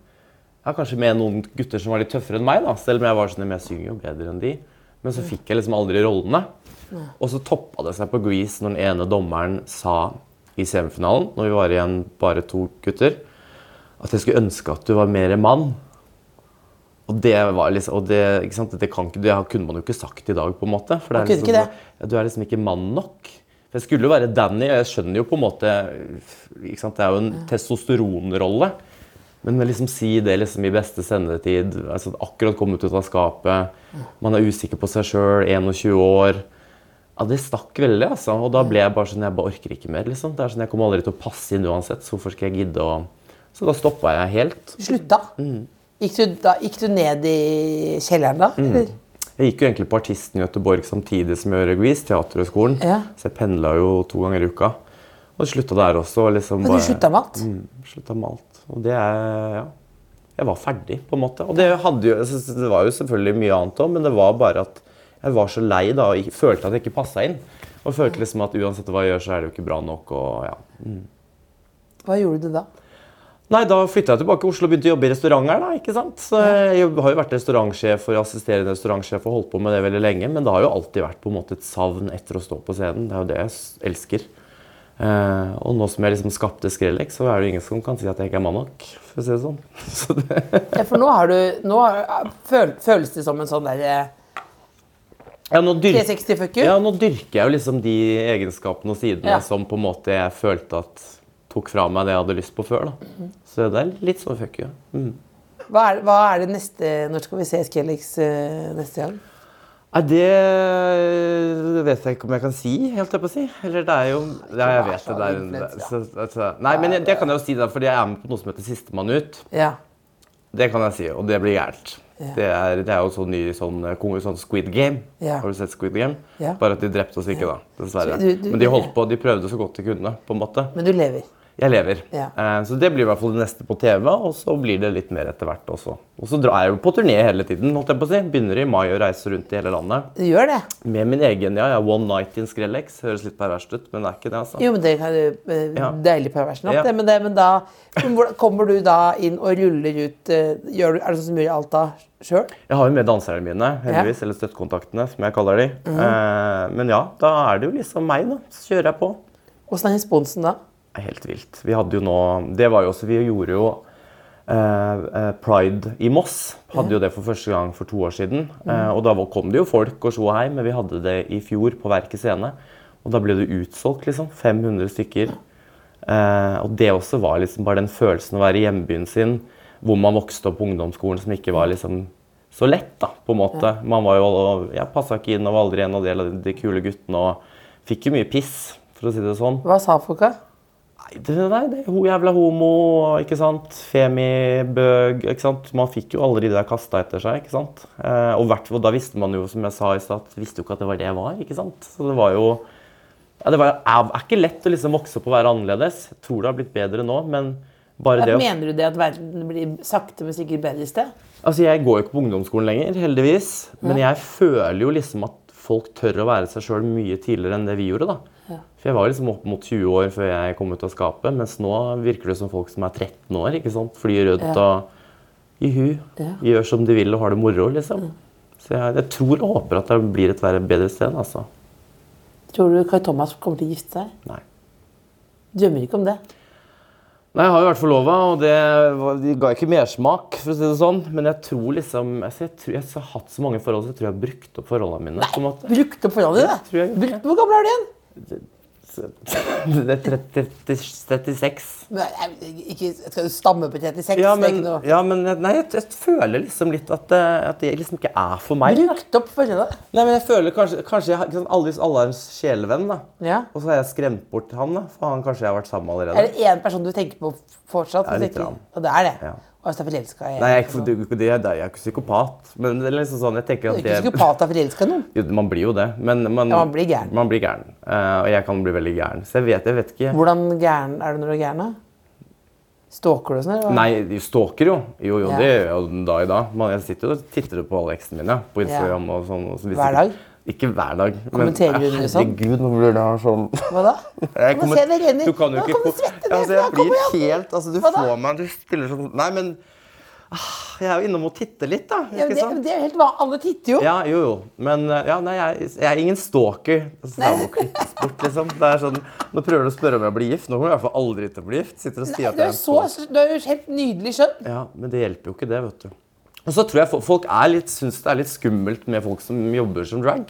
D: ja, Kanskje med noen gutter som var litt tøffere enn meg, da. Selv om jeg var sånn men jeg synger jo bedre enn de. Men så fikk jeg liksom aldri rollene. Og så toppa det seg på Grease når den ene dommeren sa i semifinalen, når vi var igjen bare to gutter, at jeg skulle ønske at du var mer mann. Og det var liksom, og det, ikke sant? det, kan ikke, det kunne man jo ikke sagt i dag, på en måte. For det
C: Man kunne
D: liksom,
C: ikke det.
D: Ja, du er liksom ikke mann nok. For jeg skulle jo være Danny, og jeg skjønner jo på en måte ikke sant? Det er jo en testosteronrolle. Men å liksom si det liksom i beste sendetid, altså akkurat kommet ut av skapet, man er usikker på seg sjøl, 21 år Ja, det stakk veldig, altså. Og da ble jeg bare sånn Jeg bare orker ikke mer, liksom. Det er sånn, Jeg kommer aldri til å passe inn uansett, så hvorfor skal jeg gidde å Så da stoppa jeg helt.
C: Slutta?
D: Mm.
C: Gikk, du da, gikk du ned i kjelleren da?
D: Mm.
C: Eller?
D: Jeg gikk jo egentlig på Artisten i Gøteborg samtidig som jeg gjorde Grease, Teaterhøgskolen.
C: Ja.
D: Så jeg pendla jo to ganger i uka. Og slutta der også. Og liksom
C: Men du slutta med alt?
D: Mm, slutta med alt. Og det er Ja. Jeg var ferdig, på en måte. Og det, hadde jo, jeg synes det var jo selvfølgelig mye annet òg, men det var bare at jeg var så lei da, og ikke- følte at jeg ikke passa inn. Og følte liksom at uansett hva jeg gjør, så er det jo ikke bra nok. og ja.
C: Hva gjorde du da?
D: Nei, Da flytta jeg tilbake til Oslo og begynte å jobbe i restaurant her. da, ikke sant? Så eh, jeg jobb- har jo vært restaurantsjef og assisterende restaurantsjef og holdt på med det veldig lenge, men det har jo alltid vært på en måte et savn etter å stå på scenen. Det er jo det jeg s- elsker. Eh, og nå som jeg liksom skapte Skrellex, så er det jo ingen som kan si at jeg ikke er mann nok. for å si det sånn. Så det,
C: Ja, for nå har du Nå har, føl, føles det som en sånn derre
D: ja, nå dyrker-
C: 360 fuck you?
D: Ja, nå dyrker jeg jo liksom de egenskapene og sidene
C: Ja.
D: som på en måte jeg følte at tok fra meg det jeg hadde lyst på før. da. Så det er litt sånn fuck you.
C: Hva er, hva er det neste Når skal vi se Skrellex eh, neste gang?
D: Nei, det vet jeg ikke om jeg kan si, holdt jeg på å si. Eller det er jo Ja, jeg vet det. det er en, så, altså, nei, men jeg, det kan jeg jo si, da, fordi jeg er med på noe som heter Sistemann ut.
C: Ja.
D: Det kan jeg si, og det blir gærent. Det, er, det er jo sånn ny sånn, eh, konge- sånn Squid Game.
C: Ja.
D: Har du sett Squid Game?
C: Ja.
D: Bare at de drepte oss ikke, da. Dessverre.
C: Så du- du-
D: men de holdt på, de prøvde så godt de kunne. på en måte.
C: Men du lever.
D: Jeg lever.
C: Ja.
D: Eh, Så det blir i hvert fall det neste på TV, og så blir det litt mer etter hvert også. Og så drar jeg jo på turné hele tiden. holdt jeg på å si. Begynner i mai å reise rundt i hele landet.
C: Du gjør det?
D: Med min egen, ja. ja One night in Skrellex. Høres litt perverst ut, men det er ikke det. altså.
C: Jo, men det kan du eh,
D: Ja.
C: Deilig pervers nok,
D: Ja.
C: det. Men, det, men da men hvordan- kommer du da inn og ruller ut eh, gjør du, Er det sånn som du gjør i Alta sjøl?
D: Jeg har jo med danserne mine, heldigvis, eller støttekontaktene, som jeg kaller de. Eh, men ja, da er det jo liksom meg, da. Så kjører jeg på.
C: Åssen er responsen da?
D: Det er helt vilt. Vi hadde jo nå Det var jo også Vi gjorde jo eh, eh, Pride i Moss. Hadde jo det for første gang for to år siden. Eh, og da var- kom det jo folk og slo hei, men vi hadde det i fjor på Verket scene. Og da ble det utsolgt, liksom. 500 stykker. Eh, og det også var liksom bare den følelsen å være i hjembyen sin, hvor man vokste opp på ungdomsskolen som ikke var liksom så lett, da, på en måte. Man var jo, og jeg passa ikke inn og var aldri en av de, de kule guttene og fikk jo mye piss, for å si det sånn.
C: Hva sa folka?
D: Nei, det, nei, det er ho, jævla homo, og, ikke sant? Femibøg, ikke sant? Man fikk jo aldri det der kasta etter seg, ikke sant? Eh, og hvert, og da visste man jo, som jeg sa i stad, visste jo ikke at det var det jeg var, ikke sant? Så det var jo Ja, det var, er er ikke lett å liksom vokse opp og være annerledes. Jeg tror det har blitt bedre nå, men bare det å
C: Mener du det at verden blir sakte, men sikkert bedre i sted?
D: Altså, Jeg går jo ikke på ungdomsskolen lenger, heldigvis. Men jeg føler jo liksom at folk tør å være seg sjøl mye tidligere enn det vi gjorde. da. For Jeg var liksom opp mot 20 år før jeg kom ut av skapet, mens nå virker det som folk som er 13 år. ikke sant? Flyr rundt og juhu, gjør som de vil og har det moro, liksom. Så jeg, jeg tror og håper at det blir et verre- bedre sted. altså.
C: Tror du Kai Thomas kommer til å gifte seg?
D: Nei.
C: Drømmer ikke om det.
D: Nei, Jeg har jo vært forlova, og det var- de ga ikke mersmak. for å si det sånn. Men jeg tror liksom, altså, jeg, tror, jeg har hatt så mange forhold så jeg tror jeg har brukt opp forholdene mine. på en måte.
C: Brukt opp forholdet ditt?
D: tror jeg gjorde
C: Brukt- Hvor gammel er du igjen?
D: Det er 30, 36.
C: Nei, Ikke, skal du stamme på 36?
D: Ja,
C: Det er
D: men,
C: ikke noe.
D: ja, men nei, jeg, jeg føler liksom litt at, eh, at det liksom ikke er for meg. da.
C: Brukt opp forholdet?
D: Nei, men jeg føler kanskje, kanskje jeg, har- ikke sant, alle, alle er en sjelevenn, da.
C: Ja.
D: Og så har jeg skremt bort han, da. For han kanskje jeg har vært sammen med
C: Er
D: allerede.
C: det én person du tenker på fortsatt?
D: Ja,
C: Du
D: litt
C: tenker-
D: grann.
C: Og det er det?
D: Ja.
C: Og hvis du er forelska i
D: Nei, jeg er, ikke, du- det, er- jeg er ikke psykopat. Men det er liksom sånn, jeg tenker
C: Du er
D: at
C: ikke
D: det
C: psykopat av forelska i noen.
D: jo, Man blir jo det. Men man,
C: Ja, man blir gæren.
D: man blir gæren. Eh, og jeg kan bli veldig gæren. Så jeg vet, jeg vet ikke
C: Hvordan gæren er du når du er gæren? da? Stalker du og sånn? eller hva?
D: Nei, de stalker jo. Jo, jo,
C: Ja.
D: det gjør jeg jo den dag i dag. Man, jeg sitter jo og titter på alle eksene mine på Instagram. og sånn. Og så hvis
C: Hver
D: ikke-
C: dag?
D: Ikke hver dag. men-
C: Kommenterer du det sånn?
D: Herregud, nå blir det her sånn.
C: Hva da?
D: Jeg
C: Kom og
D: kommer-
C: se, det renner.
D: Du kan jo
C: Nå
D: ikke
C: kommer svette ned.
D: ja, altså,
C: Nå
D: Jeg
C: kommer
D: blir
C: jeg.
D: helt altså, Du
C: Hva da?
D: får meg Du stiller sånn Nei, men ah, Jeg er jo innom og titter litt, da.
C: Ja,
D: Ikke
C: det,
D: sant?
C: det er jo helt vanlig. Alle titter jo.
D: Ja, jo, jo. Men eh, ja, nei, jeg, jeg er ingen stalker. Altså, det er jo å klippes bort, liksom. Det er sånn, Nå prøver du å spørre om jeg blir gift. Nå kommer jeg i hvert fall aldri til å bli gift. Sitter og sier at
C: Du er,
D: jeg en
C: så, du er jo helt nydelig skjønn.
D: Ja, men det hjelper jo ikke det, vet du. Og så tror jeg fo- folk er litt, syns det er litt skummelt med folk som jobber som drag.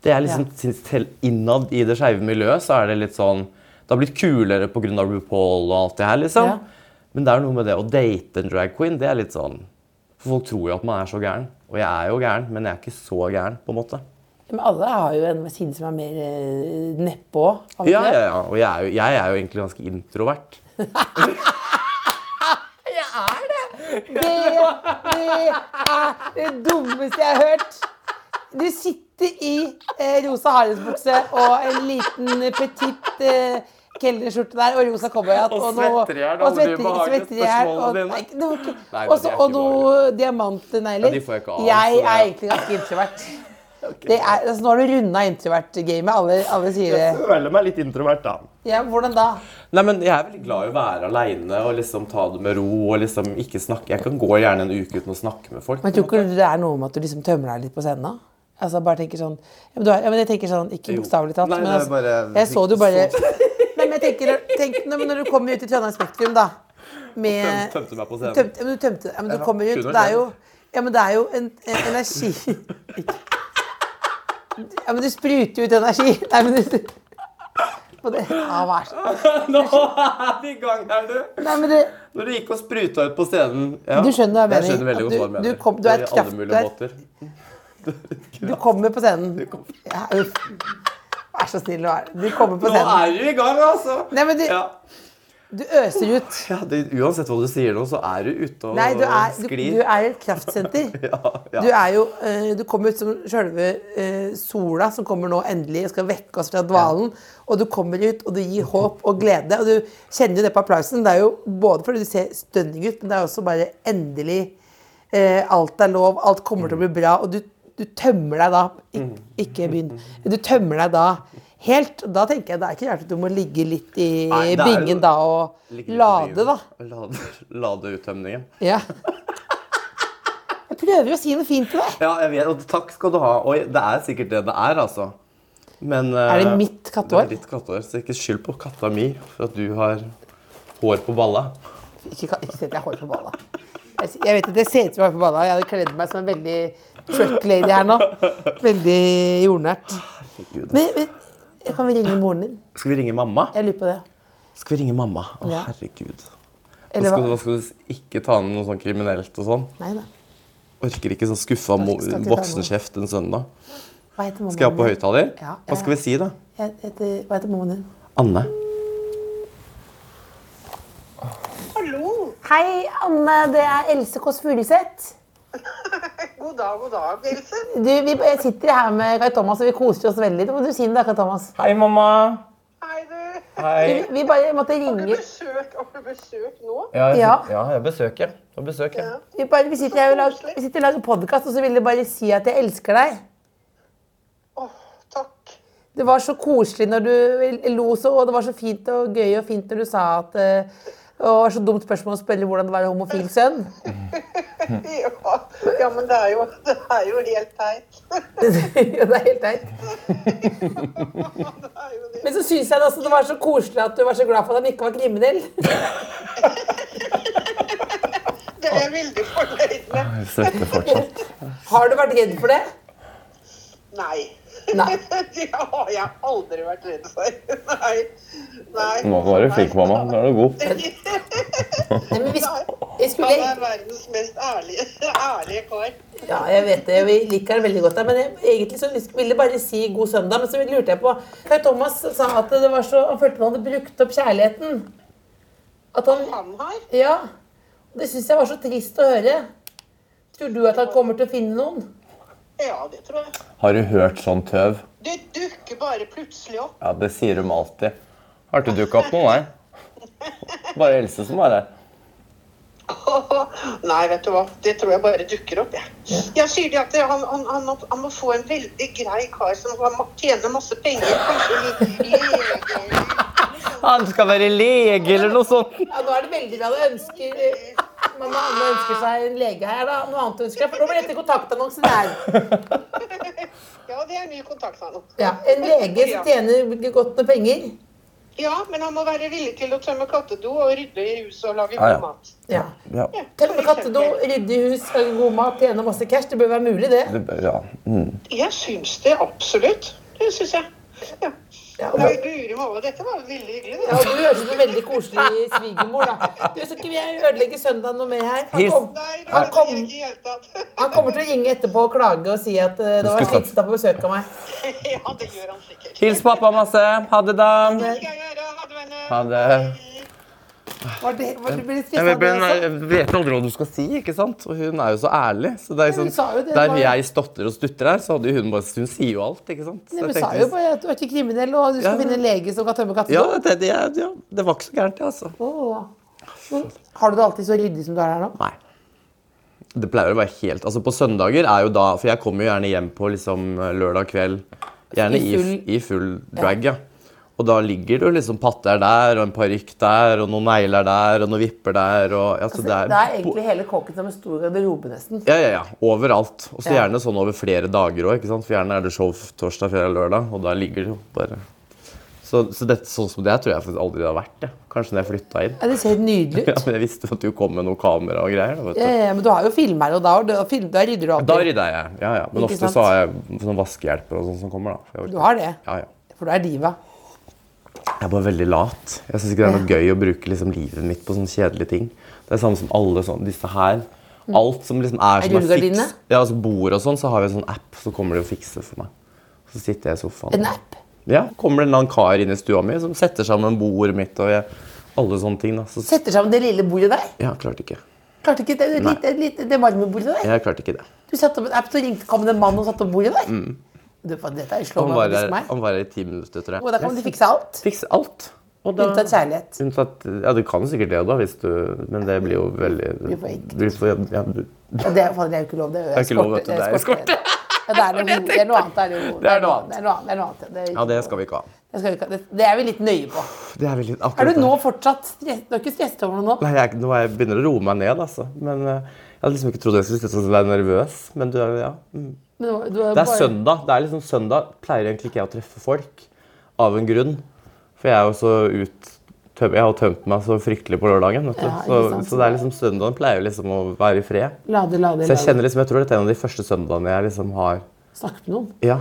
D: Det er liksom,
C: Ja.
D: syns til- Innad i det skeive miljøet så er det litt sånn Det har blitt kulere pga. RuPaul og alt det her, liksom.
C: Ja.
D: Men det er noe med det å date en drag queen. Det er litt sånn For folk tror jo at man er så gæren. Og jeg er jo gæren, men jeg er ikke så gæren, på en måte.
C: Men alle har jo en side som er mer eh, nedpå. har vi
D: Ja,
C: ikke
D: ja,
C: det?
D: ja. Og jeg er jo, jeg er jo egentlig ganske introvert.
C: Det er det dummeste jeg har hørt. Du sitter i eh, rosa haremsbukse og en liten petit eh, kelnerskjorte der og rosa cowboyhatt.
D: Og svetter i hjel,
C: og
D: alle de
C: svetter-
D: ubehagelige
C: svetter i hjel, og-
D: spørsmålene dine.
C: Nei, det var ikke-
D: Nei,
C: og så-
D: de er
C: Og
D: ikke
C: noen diamantnegler.
D: Ja, de får jeg ikke av,
C: Jeg
D: så det-
C: er egentlig ganske introvert. Det er, altså, nå har du runda introvert-gamet. Alle, alle sier det.
D: Føler meg litt introvert, da.
C: Ja, hvordan da?
D: Nei, men Jeg er veldig glad i å være aleine og liksom ta det med ro. og liksom ikke snakke. Jeg kan gå gjerne en uke uten å snakke med folk.
C: Men tror ikke du det er noe med at du liksom tømmer deg litt på scenen? da? Altså bare tenker sånn, ja, men du er, ja, men jeg tenker sånn, Ikke
D: Jo.
C: bokstavelig talt,
D: Nei,
C: men
D: det er
C: altså,
D: bare-
C: jeg så det jo bare Nei, men jeg tenker, tenk, nei, men Når du kommer ut i Trondheim Spektrum, da med,
D: Tøm- tømte meg på scenen.
C: Tømte, ja, men du tømte, ja, men du kommer ut,
D: kunne vært
C: det er jo, ja, men det er jo en, en energi Ja, men du spruter jo ut energi. Nei, men du... Og det, ja, hva er så-
D: Nå er vi i gang her, du!
C: Nei, men det,
D: Når du gikk og spruta ut på scenen ja,
C: Du skjønner hva jeg mener.
D: Jeg skjønner veldig
C: At
D: godt hva
C: du-
D: jeg
C: du
D: mener.
C: kom- du er et
D: På
C: kraft-
D: alle
C: du er-
D: mulige måter.
C: du kommer på scenen. Ja, uff. Vær så snill, nå er du kommer på
D: Nå
C: scenen.
D: er du i gang, altså!
C: Nei, men du,
D: Ja.
C: du øser ut.
D: Ja, det, uansett hva du sier nå, så er du ute og
C: Nei, du er, du,
D: sklir.
C: du er et kraftsenter.
D: ja, ja.
C: Du er jo, eh, du kommer ut som sjølve eh, sola som kommer nå endelig og skal vekke oss fra dvalen. Og du kommer ut, og du gir håp og glede. Og du kjenner jo det på applausen. Det er jo både fordi du ser stunning ut, men det er også bare endelig eh, Alt er lov, alt kommer til å bli bra. Og du, du tømmer deg da Ik Ikke begynn. Du tømmer deg da helt. Da tenker jeg det er ikke rart at du må ligge litt i
D: Nei, det er jo-
C: bingen da og
D: Ligger litt i
C: lade,
D: byen.
C: da.
D: Lade, lade uttømningen.
C: Ja. Jeg prøver å si noe fint til deg.
D: Ja, jeg vet, og takk skal du ha. Og det er sikkert det det er, altså. Men,
C: Er det
D: eh,
C: mitt kattehår?
D: Det er ditt kattehår, så ikke skyld på katta mi for at du har hår på balla.
C: Ikke, ka- ikke si at jeg har hår på balla. Jeg s- jeg vet at det ser ut som jeg har hår på balla. Jeg hadde kledd meg som en veldig truck lady her nå. Veldig jordnært. Men, men kan vi ringe moren din?
D: Skal vi ringe mamma?
C: Jeg lurer på det.
D: Skal vi ringe mamma? Å,
C: Ja.
D: herregud. Nå
C: Eller
D: skal, du,
C: hva?
D: nå skal du s- ikke ta ned noe sånn kriminelt og sånn.
C: Nei da.
D: Orker ikke sånn skuffa mo-
C: Skal ikke ta noe.
D: voksenkjeft en søndag.
C: Hva heter mammaen
D: Skal jeg opp på
C: din?
D: høyttaler?
C: Ja, ja,
D: Hva skal vi si, da?
C: Jeg heter, hva heter mammaen din?
D: Anne.
G: Hallo!
H: Hei, Anne. Det er Else Kåss Furuseth.
G: God dag, god dag, Else.
C: Du, vi sitter her med Kai Thomas, og vi koser oss veldig. Hva må du si det, Kai Thomas?
H: Hei, mamma.
G: Hei, du.
H: Hei.
C: Vi, vi bare måtte
G: Har du
C: ringe.
G: besøk, har du besøk nå?
H: Ja, jeg,
C: Ja.
H: ja, jeg besøker. Jeg besøker.
G: Ja.
C: Vi, bare, vi sitter her og lager, vi sitter og lager podkast, og så ville jeg bare si at jeg elsker deg.
G: Åh, takk.
C: Det var så koselig når du lo så, og det var så fint og gøy og fint når du sa at eh, og Det var så dumt spørsmål å spørre hvordan det var å ha homofil sønn.
G: Ja, ja men det er jo, det er jo helt teit.
C: det er helt teit.
G: Det er jo det.
C: Men så syns jeg det også det var så koselig at du var så glad for at han ikke var kriminell.
G: Det er jeg veldig fornøyd med.
D: Jeg svetter fortsatt.
C: Har du vært redd for det?
G: Nei.
C: Nei.
G: Det har jeg aldri vært redd for. Nei. Nei.
D: Nå var du flink, mamma. Nå er du god.
C: Nei, men vi, jeg
G: Han
C: skulle,
G: er verdens mest ærlige, ærlige kar.
C: ja, jeg vet det, vi liker han veldig godt. der, Men jeg, egentlig så lyst- ville jeg bare si god søndag, men så lurte jeg på Kai Thomas sa at det var så, han følte han hadde brukt opp kjærligheten. At han
G: Han har.
C: Ja. Det syns jeg var så trist å høre. Tror du at han kommer til å finne noen?
G: Ja, det tror jeg.
D: Har du hørt sånn tøv?
G: Det dukker bare plutselig opp.
D: Ja, det sier de alltid. Har ikke dukka opp noen, nei. Bare Else som er her.
G: Nei, vet du hva. Det tror jeg bare dukker opp, jeg. Jeg sier det at det- han, han, han, må, han må få en veldig grei kar som kan ma- tjene masse penger. Kanskje litt lege.
H: Han skal være lege eller noe sånt.
C: Ja, nå er det veldig bra. Du ønsker Mamma Anne ønsker seg en lege her, da. Noe annet ønsker jeg, for nå blir dette kontaktannonsen her.
G: Ja, det er ny kontakt med han.
C: Ja, En lege som tjener godt med penger.
G: Ja, men han må være villig til å tømme kattedo og rydde i huset og lage
D: Ja, ja.
G: god mat.
C: Ja.
D: Ja.
G: Ja, for
C: Tømme kattedo,
G: eksempel.
C: rydde i hus, lage god mat, tjene masse cash. Det bør være mulig, det.
D: Det, bør- ja. Mm.
G: Jeg syns det absolutt. Det syns jeg. Ja.
C: Ja,
G: Nei, guri malla, dette var veldig hyggelig.
C: Ja,
G: det.
C: og Du høres ut som en veldig koselig svigermor. da. Du, Så ikke vi ødelegge søndagen noe mer her. Han,
D: Hils.
C: kom,
G: Nei, det
C: han,
G: var
C: kom,
G: det ikke i hele tatt.
C: han kommer til å ringe etterpå og klage og si at eh, det var
D: Skulle
C: slitsomt å ha besøk av meg.
G: Ja, det gjør han sikkert.
D: Hils pappa masse. Ha det, da.
G: Det skal jeg gjøre. Ha det, venner.
D: Ha det.
C: Var det, var det, ble det
D: Jeg vet,
C: stressa, du også?
D: jeg vet aldri hva du skal si, ikke sant? Og hun er jo så ærlig. Så det er
C: Ja, hun
D: sånn,
C: sa jo det,
D: der
C: bare-
D: jeg stotter og stutter her, så hadde jo hun bare Hun sier jo alt, ikke sant? Så
C: Nei,
D: jeg
C: men sa
D: tenkte
C: jo
D: hvis-
C: bare at du er ikke kriminell, og du skal
D: Ja.
C: finne en lege som kan tømme
D: ja,
C: kattedo.
D: det, det, ja, det var ikke så gærent, det, altså.
C: Men Har du det alltid så ryddig som du er her nå?
D: Nei. Det pleier å være helt Altså, på søndager er jo da For jeg kommer jo gjerne hjem på liksom lørdag kveld. Gjerne i full, i full drag, ja. Og da ligger det jo liksom patter der, og en parykk der, og noen negler der, og noen vipper der, og altså,
C: Det
D: det
C: er,
D: er
C: egentlig hele kåken som en stor garderobe, nesten.
D: Ja, ja, ja. Overalt. Og så
C: Ja.
D: gjerne sånn over flere dager òg. For gjerne er det show torsdag, fredag, lørdag, og da ligger det jo bare Så, så dette, sånn som det er, tror jeg faktisk aldri det har vært. det. Kanskje når jeg flytta inn.
C: Ja, det ser helt nydelig
D: Ja,
C: ut.
D: men Jeg visste jo at du kom med noe kamera og greier. Da, vet du.
C: Ja, ja, men du har jo filmer, og da, har du- og film, da rydder du
D: Da
C: alltid.
D: rydder jeg. Ja, ja. Men
C: Ikke
D: ofte
C: sant?
D: så har jeg sånn vaskehjelper og sånn som kommer. da. for jeg orker
C: Du har det,
D: ikke. Ja, ja.
C: for du er diva.
D: Jeg er bare veldig lat. Jeg syns ikke det er noe gøy å bruke liksom, livet mitt på sånne kjedelige ting. Det er samme som alle sånn, disse her. Alt som liksom er, som
C: rullegardinene?
D: fiks- Ja, altså bord og sånn, så har vi en sånn app, så kommer de og fikser for meg. Så sitter jeg i sofaen.
C: En app.
D: Ja, kommer det en eller annen kar inn i stua mi som setter sammen bordet mitt og jeg, alle sånne ting. da. Så,
C: Setter sammen det lille bordet der.
D: jeg klarte ikke.
C: Klarte ikke det,
D: Nei.
C: lite, lite, det marmorbordet der.
D: Jeg klarte ikke det.
C: Du satte opp en app, så ringte, kom det en mann og satte opp bordet der. Du, faen, dette er jo slå
D: Mm. Han
C: meg
D: var
C: faktisk
D: her,
C: meg.
D: han var her i ti minutter, tror jeg.
C: Og da kan de fikse alt.
D: Fikse alt. Og da-
C: Unntatt kjærlighet.
D: Unntatt, ja, du kan sikkert det, da, hvis du, men det blir jo veldig
C: blir for ekkelt.
D: blir for- ja, du-
C: Ja, Det er, faen, det er jo ikke lov. Det er jo
D: ikke lov, vet du, det er
C: eskorte. Ja, det, er noe, det er noe annet. Det er, jo,
D: Det er noe annet.
C: Det er noe annet. Det er noe annet. Det, er
D: ja, det skal vi ikke ha.
C: det, skal vi ikke ha. det, det er vi litt nøye på.
D: Det er veldig akkurat
C: Er du
D: det.
C: nå fortsatt stress, Du er ikke stresset over noe nå?
D: Nei, jeg, nå er jeg begynner å roe meg ned, altså. Men eh, jeg hadde liksom ikke trodd jeg skulle sitte sånn og være nervøs. Men du er, ja. Mm.
C: Men du- du
D: Det er
C: bare-
D: søndag. Det er liksom søndag pleier egentlig ikke jeg å treffe folk. Av en grunn. For jeg er jo så ut... tøm- Jeg har tømt meg så fryktelig på lørdagen. vet du.
C: Ja, ikke
D: så,
C: sant.
D: så det er liksom søndagen pleier jo liksom å være i fred.
C: Lade, lade,
D: Så jeg
C: lade.
D: kjenner liksom, jeg tror dette er en av de første søndagene jeg liksom har
C: Snakke med noen.
D: Ja.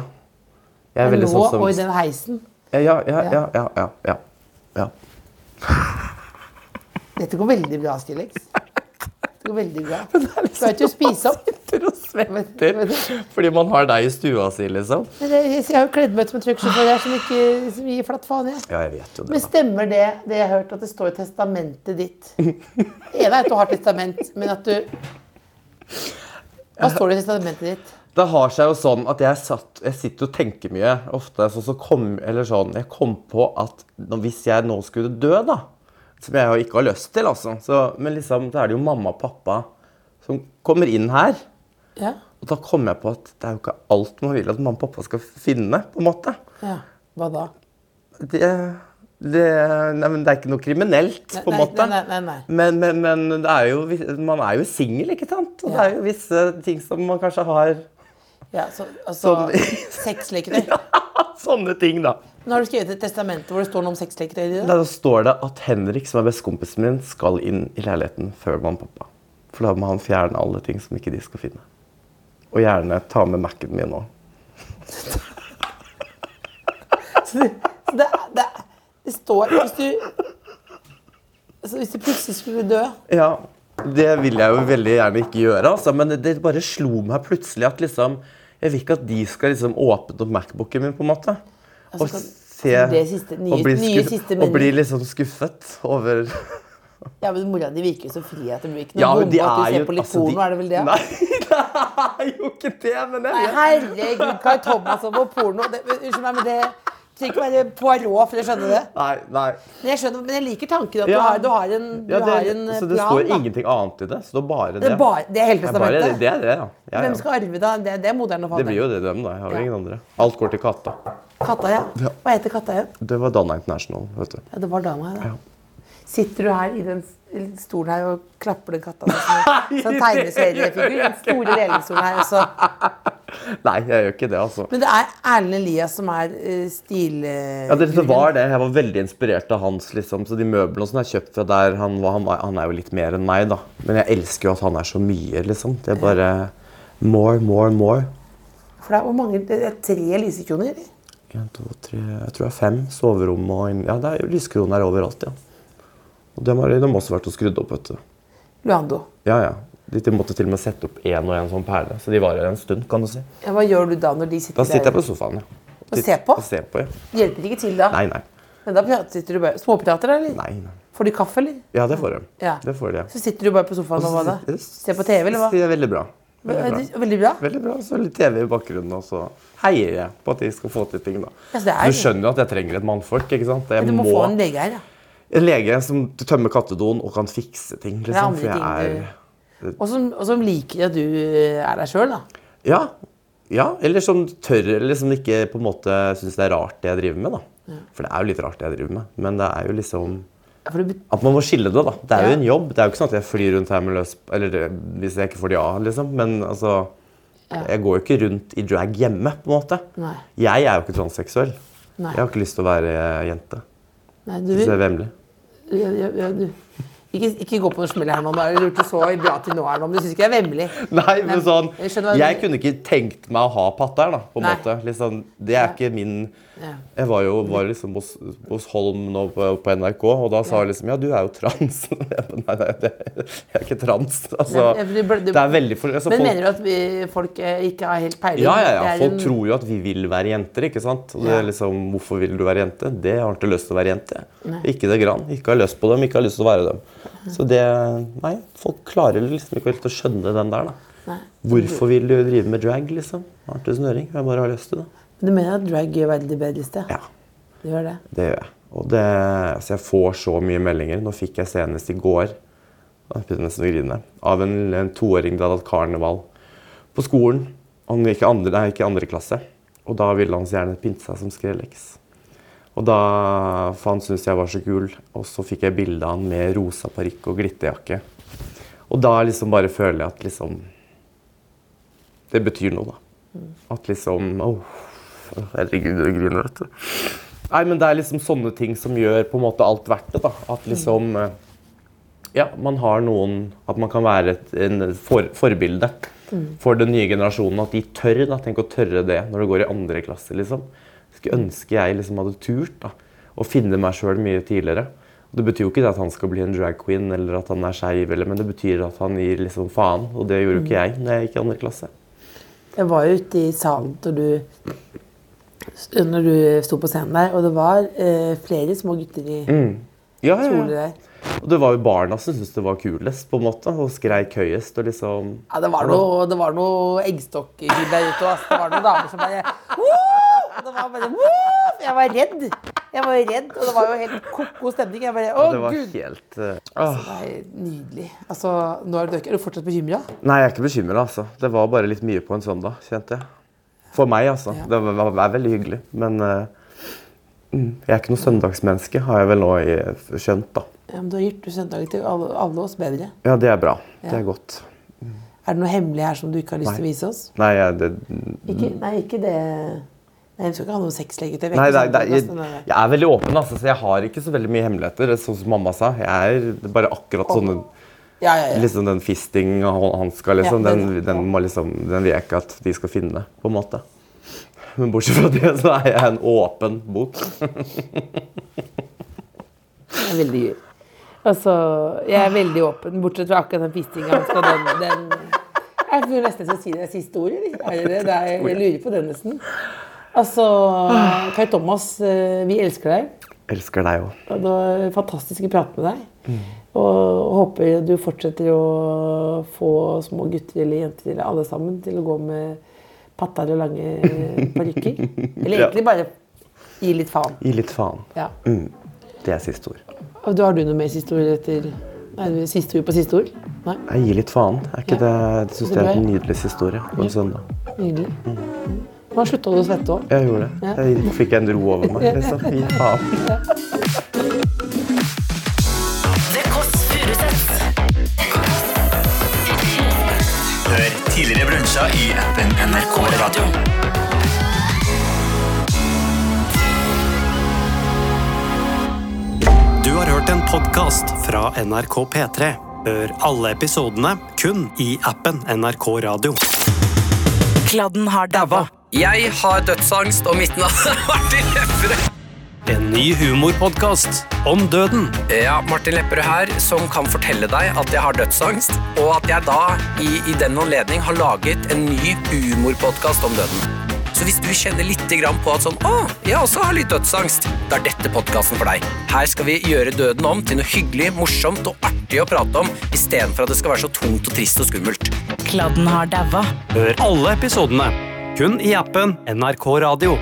D: Jeg er
C: Men
D: veldig
C: nå
D: sånn som
C: og i den heisen.
D: Ja, ja, ja. ja, ja, ja, ja. ja.
C: Dette går veldig bra, Stillex. Det går veldig bra. Du er ikke å spise opp.
D: liksom Sitter og svetter fordi man har deg i stua si, liksom.
C: Men Jeg, jeg har jo kledd meg ut som en trucksjåfør her som ikke som gir flatt faen, jeg.
D: Ja, jeg vet jo
C: Men
D: det. da.
C: stemmer det, det jeg har hørt, at det står i testamentet ditt? Det ene er at du har testament, men at du Hva står det i testamentet ditt?
D: Det har seg jo sånn at jeg, satt, jeg sitter og tenker mye. Ofte så, så kom, eller sånn, Jeg kom på at nå- hvis jeg nå skulle dø, da Som jeg jo ikke har lyst til, altså. Så, men liksom, da er det jo mamma og pappa som kommer inn her.
C: Ja.
D: Og da kom jeg på at det er jo ikke alt man vil at mamma og pappa skal finne. på en måte.
C: ja. Hva da?
D: Det, det, nei, men det er ikke noe kriminelt, på en
C: Nei,
D: måte.
C: Nei, nei, nei. nei.
D: Men, men, men det er jo, vis- man er jo singel, ikke sant? Og det er jo visse ting som man kanskje har
C: Ja, så, altså,
D: Sånn.
C: Sexleketøy.
D: Sånne ting, da.
C: Nå har du skrevet et testament hvor det står noe om sexleketøy. i det.
D: Da står det at Henrik, som er bestekompisen min, skal inn i leiligheten før mamma og pappa. For da må han fjerne alle ting som ikke de skal finne. Og gjerne ta med Mac-en min òg.
C: Så det, det, det står Hvis du altså, Hvis du plutselig skulle dø
D: Ja, det vil jeg jo veldig gjerne ikke gjøre, altså. Men det bare slo meg plutselig at liksom Jeg vil ikke at de skal liksom åpne opp Macbooken min, på en måte. Og
C: Altså, kan-
D: se
C: det siste- nye-
D: og, bli
C: nye
D: skuff-
C: siste
D: og bli
C: mening.
D: liksom skuffet over
C: Ja, men Mora di virker jo så fri at det blir ikke noe
D: Ja, men
C: bombe
D: de
C: at
D: er
C: du ser
D: jo-
C: på litt
D: altså, de-
C: porno, er det vel det?
D: Nei, det er jo ikke det, men jeg vet
C: Herregud, Kai Thomas og på porno det, men Unnskyld meg, men det trenger ikke å være Poirot for å skjønne det.
D: Nei, nei.
C: Men jeg skjønner, men jeg liker tanken at du,
D: Ja.
C: har, du har en, du
D: Ja, det,
C: har en eh,
D: så det
C: plan.
D: står
C: da.
D: ingenting annet i det. Det står bare det.
C: det, er bare, det er hele
D: Det er bare det,
C: testamentet.
D: det er det, ja. ja,
C: Hvem
D: ja.
C: skal arve da? Det, det er moderen og
D: Det
C: faderen.
D: blir jo det dem, da. Jeg har
C: Ja.
D: jo ingen andre. Alt går til katta.
C: Katta, ja.
D: Ja.
C: Hva heter katta igjen?
D: Det var Dana International, vet du.
C: Ja, det var dama, ja.
D: Ja.
C: Sitter du her i den s- stolen her og klapper den katta som en sånn tegneseriefigur? Den store lelingsstolen her også.
D: Nei, jeg gjør ikke det, altså.
C: Men det er Erlend Elias som er eh, stil... eh,
D: Ja, det, det var det. Jeg var veldig inspirert av hans, liksom. Så de møblene og sånn jeg kjøpt fra der han var, han, var, han er jo litt mer enn meg, da. Men jeg elsker jo at han er så mye, liksom. Det er bare more, more, more.
C: For det er, hvor mange, det er tre lysekroner, eller?
D: En, to, tre, jeg tror det er fem soverom og inn- Ja, det er jo lyskroner overalt, ja. Og de har, de har også vært og skrudd opp, vet du.
C: Luando.
D: Ja, ja. De til- måtte til og med sette opp én og én sånn perle. Så de var her en stund, kan du si.
C: Ja, hva gjør du da når de
D: Da
C: sitter
D: sitter jeg
C: der?
D: på sofaen, ja.
C: Og ser på?
D: Og ser på, ja.
C: Hjelper ikke til da?
D: Nei, nei.
C: Men da prater- sitter du bare... Småprater da, eller?
D: nei, nei.
C: Får de kaffe, eller?
D: Ja, det får de.
C: Ja.
D: Det får de, ja.
C: Så sitter du bare på sofaen og hva da? Ser på TV, eller hva?
D: Det er veldig bra. Veldig bra.
C: Veldig bra. Veldig bra.
D: Veldig bra. Så litt TV i bakgrunnen, og så heier jeg på at de skal få til ting, da.
C: Ja, så det er-
D: Du skjønner jo at jeg trenger et mannfolk, ikke sant? Jeg
C: Men du må få en lege her, ja.
D: En lege som tømmer kattedoen og kan fikse ting,
C: Det er
D: liksom.
C: andre
D: For jeg
C: ting
D: er
C: du... Og som, og som liker at du eh, er deg selv, da.
D: Ja. ja. Eller som tør, eller som ikke på en måte syns det er rart det jeg driver med. da. For det er jo litt rart det jeg driver med. Men det er jo liksom
C: Ja, For det bet-
D: At man må skille det, da. Det er
C: Ja.
D: jo en jobb. Det er jo ikke sånn at jeg flyr rundt her med løs Eller det- hvis jeg ikke får det av, liksom. Men altså Jeg går jo ikke rundt i drag hjemme, på en måte.
C: Nei.
D: Jeg er jo ikke transseksuell.
C: Nei.
D: Jeg har ikke lyst til å være eh, jente.
C: Nei, du,
D: Så jeg er vemmelig.
C: ja, ja, ja, du. Ikke, ikke gå på noen smell, Herman. Da har du gjort det så bra til nå, Herman. Du syns ikke jeg er vemmelig?
D: Nei, men sånn
C: jeg skjønner hva du
D: Jeg
C: mener.
D: kunne ikke tenkt meg å ha patter, da. På en
C: Nei.
D: måte. Liksom, det er ikke min
C: Ja.
D: Jeg var jo var liksom hos, hos Holm nå på, på NRK, og da sa jeg liksom Ja, du er jo trans. Jeg bare, nei, nei, det, jeg er ikke trans. Altså,
C: Nei, men du bør- du-
D: det er veldig for, altså,
C: Men
D: folk,
C: mener du at vi, folk eh, ikke har helt peiling?
D: ja, ja, ja.
C: Det er
D: Folk
C: en-
D: tror jo at vi vil være jenter, ikke sant? Og det
C: Ja.
D: er liksom, Hvorfor vil du være jente? Det har ikke lyst til å være jente. Ikke det grann. Ikke har lyst på dem, ikke har lyst til å være dem. Så det Nei, folk klarer liksom ikke helt å skjønne den der, da.
C: Nei.
D: Hvorfor vil du drive med drag, liksom? Har ikke snøring. Jeg bare har lyst til det.
C: Men du mener at drag gjør verden til bedre?
D: Ja.
C: Det gjør det.
D: Det gjør jeg. Og det, altså jeg får så mye meldinger. Nå fikk jeg senest i går da begynte jeg nesten å grine, av en, en toåring som hadde hatt karneval på skolen. Han gikk i andre, nei, ikke i andre klasse. Og da ville han så gjerne pynte seg som Skrellex. Og da, for han syntes jeg var så kul, og så fikk jeg bilde av han med rosa parykk og glitterjakke. Og da liksom bare føler jeg at liksom Det betyr noe, da. At liksom Åh, herregud, jeg griner, vet du. Nei, men det er liksom sånne ting som gjør på en måte alt verdt det. da. At liksom eh, Ja, man har noen At man kan være et en for, forbilde for den nye generasjonen. At de tør. da. Tenk å tørre det når du går i andre klasse, liksom. Skulle ønske jeg liksom hadde turt da, å finne meg sjøl mye tidligere. Og Det betyr jo ikke det at han skal bli en drag queen, eller at han er skeiv, eller- men det betyr at han gir liksom faen. Og det gjorde jo ikke jeg når jeg gikk i andre klasse.
C: Jeg var jo ute i salen når du,
D: Mm.
C: når du sto på scenen der, og det var eh, flere små gutter i
D: Ja,
C: Tror du
D: ja, ja.
C: det?
D: Og det var jo barna som syntes det var kulest, på en måte, og skreik høyest og liksom
C: Ja, det var noe, det var noe eggstokkhyll der ute. Ass. Det var noen damer som bare «Woo!» Og Det var bare «Woo!» Jeg var redd. Jeg var redd, og det var jo helt ko-ko stemning. Jeg bare,
D: Det
C: å
D: var
C: gud!
D: helt eh, åh.
C: Det er nydelig. Altså, nå er du døker. Er du fortsatt bekymra?
D: Nei, jeg er ikke bekymra, altså. Det var bare litt mye på en søndag, kjente jeg. For meg, altså.
C: Ja.
D: Det var, var, var veldig hyggelig, men eh, mm, jeg er ikke noe søndagsmenneske, har jeg vel nå i- eh, skjønt, da.
C: Ja, men du har gjort søndagen til alle, alle oss bedre.
D: Ja, det er bra. Det er godt.
C: Er det noe hemmelig her som du ikke har lyst til å vise oss?
D: Nei, jeg, det,
C: Ikke, nei, ikke det Nei, vi skal ikke ha noe sexleketøy.
D: nei det, det, jeg,
C: Sånn, nei, nei.
D: jeg er veldig åpen, altså, så jeg har ikke så veldig mye hemmeligheter. Sånn som mamma sa. Jeg er bare akkurat sånn
C: Ja, ja, ja.
D: liksom den fisting og hå- hanska, liksom.
C: Ja, den-
D: Den, den, må liksom, den vil jeg ikke at de skal finne, på en måte. Men bortsett fra det, så er jeg en åpen bok.
C: Det er veldig gøy. Altså, jeg er veldig åpen, bortsett fra akkurat den fistinga. så Den, den Jeg tror nesten jeg skal si det er siste ord. eller? Er det det? det er, jeg lurer på det nesten. Altså, Kai Thomas, eh, vi elsker deg.
D: Elsker deg òg.
C: Og det var fantastisk å prate med deg. Og håper du fortsetter å få små gutter eller jenter eller alle sammen til å gå med patter og lange eh, parykker. Eller
D: Ja.
C: egentlig bare gi litt faen.
D: Gi litt faen.
C: Ja.
D: Det er siste ord.
C: Og du- Har du noe mer siste ord etter Nei, det er siste ord på siste ord? Nei?
D: Nei, gi litt faen. Er ikke det, jeg syns det er en nydelig historie på en søndag.
C: Nydelig. Nå slutta du å svette òg.
D: Jeg gjorde det. Jeg fikk en ro over meg, liksom. Gi faen.
B: Det Kåss Furuseths.
I: Hør tidligere brunsja i appen NRK Radio.
A: Du har hørt en podkast fra NRK P3. Hør alle episodene kun i appen NRK Radio.
B: Kladden har daua.
I: Jeg har dødsangst, og mitt navn er Martin Lepperød.
A: En ny humorpodkast om døden.
I: Ja, Martin Lepperød her, som kan fortelle deg at jeg har dødsangst, og at jeg da i, i den anledning har laget en ny humorpodkast om døden. Så hvis du kjenner litt grann på at sånn, å, jeg også har litt dødsangst, da er dette podkasten for deg. Her skal vi gjøre døden om til noe hyggelig, morsomt og artig å prate om, istedenfor at det skal være så tungt og trist og skummelt.
B: Kladden har daua.
A: Hør alle episodene kun i appen NRK Radio.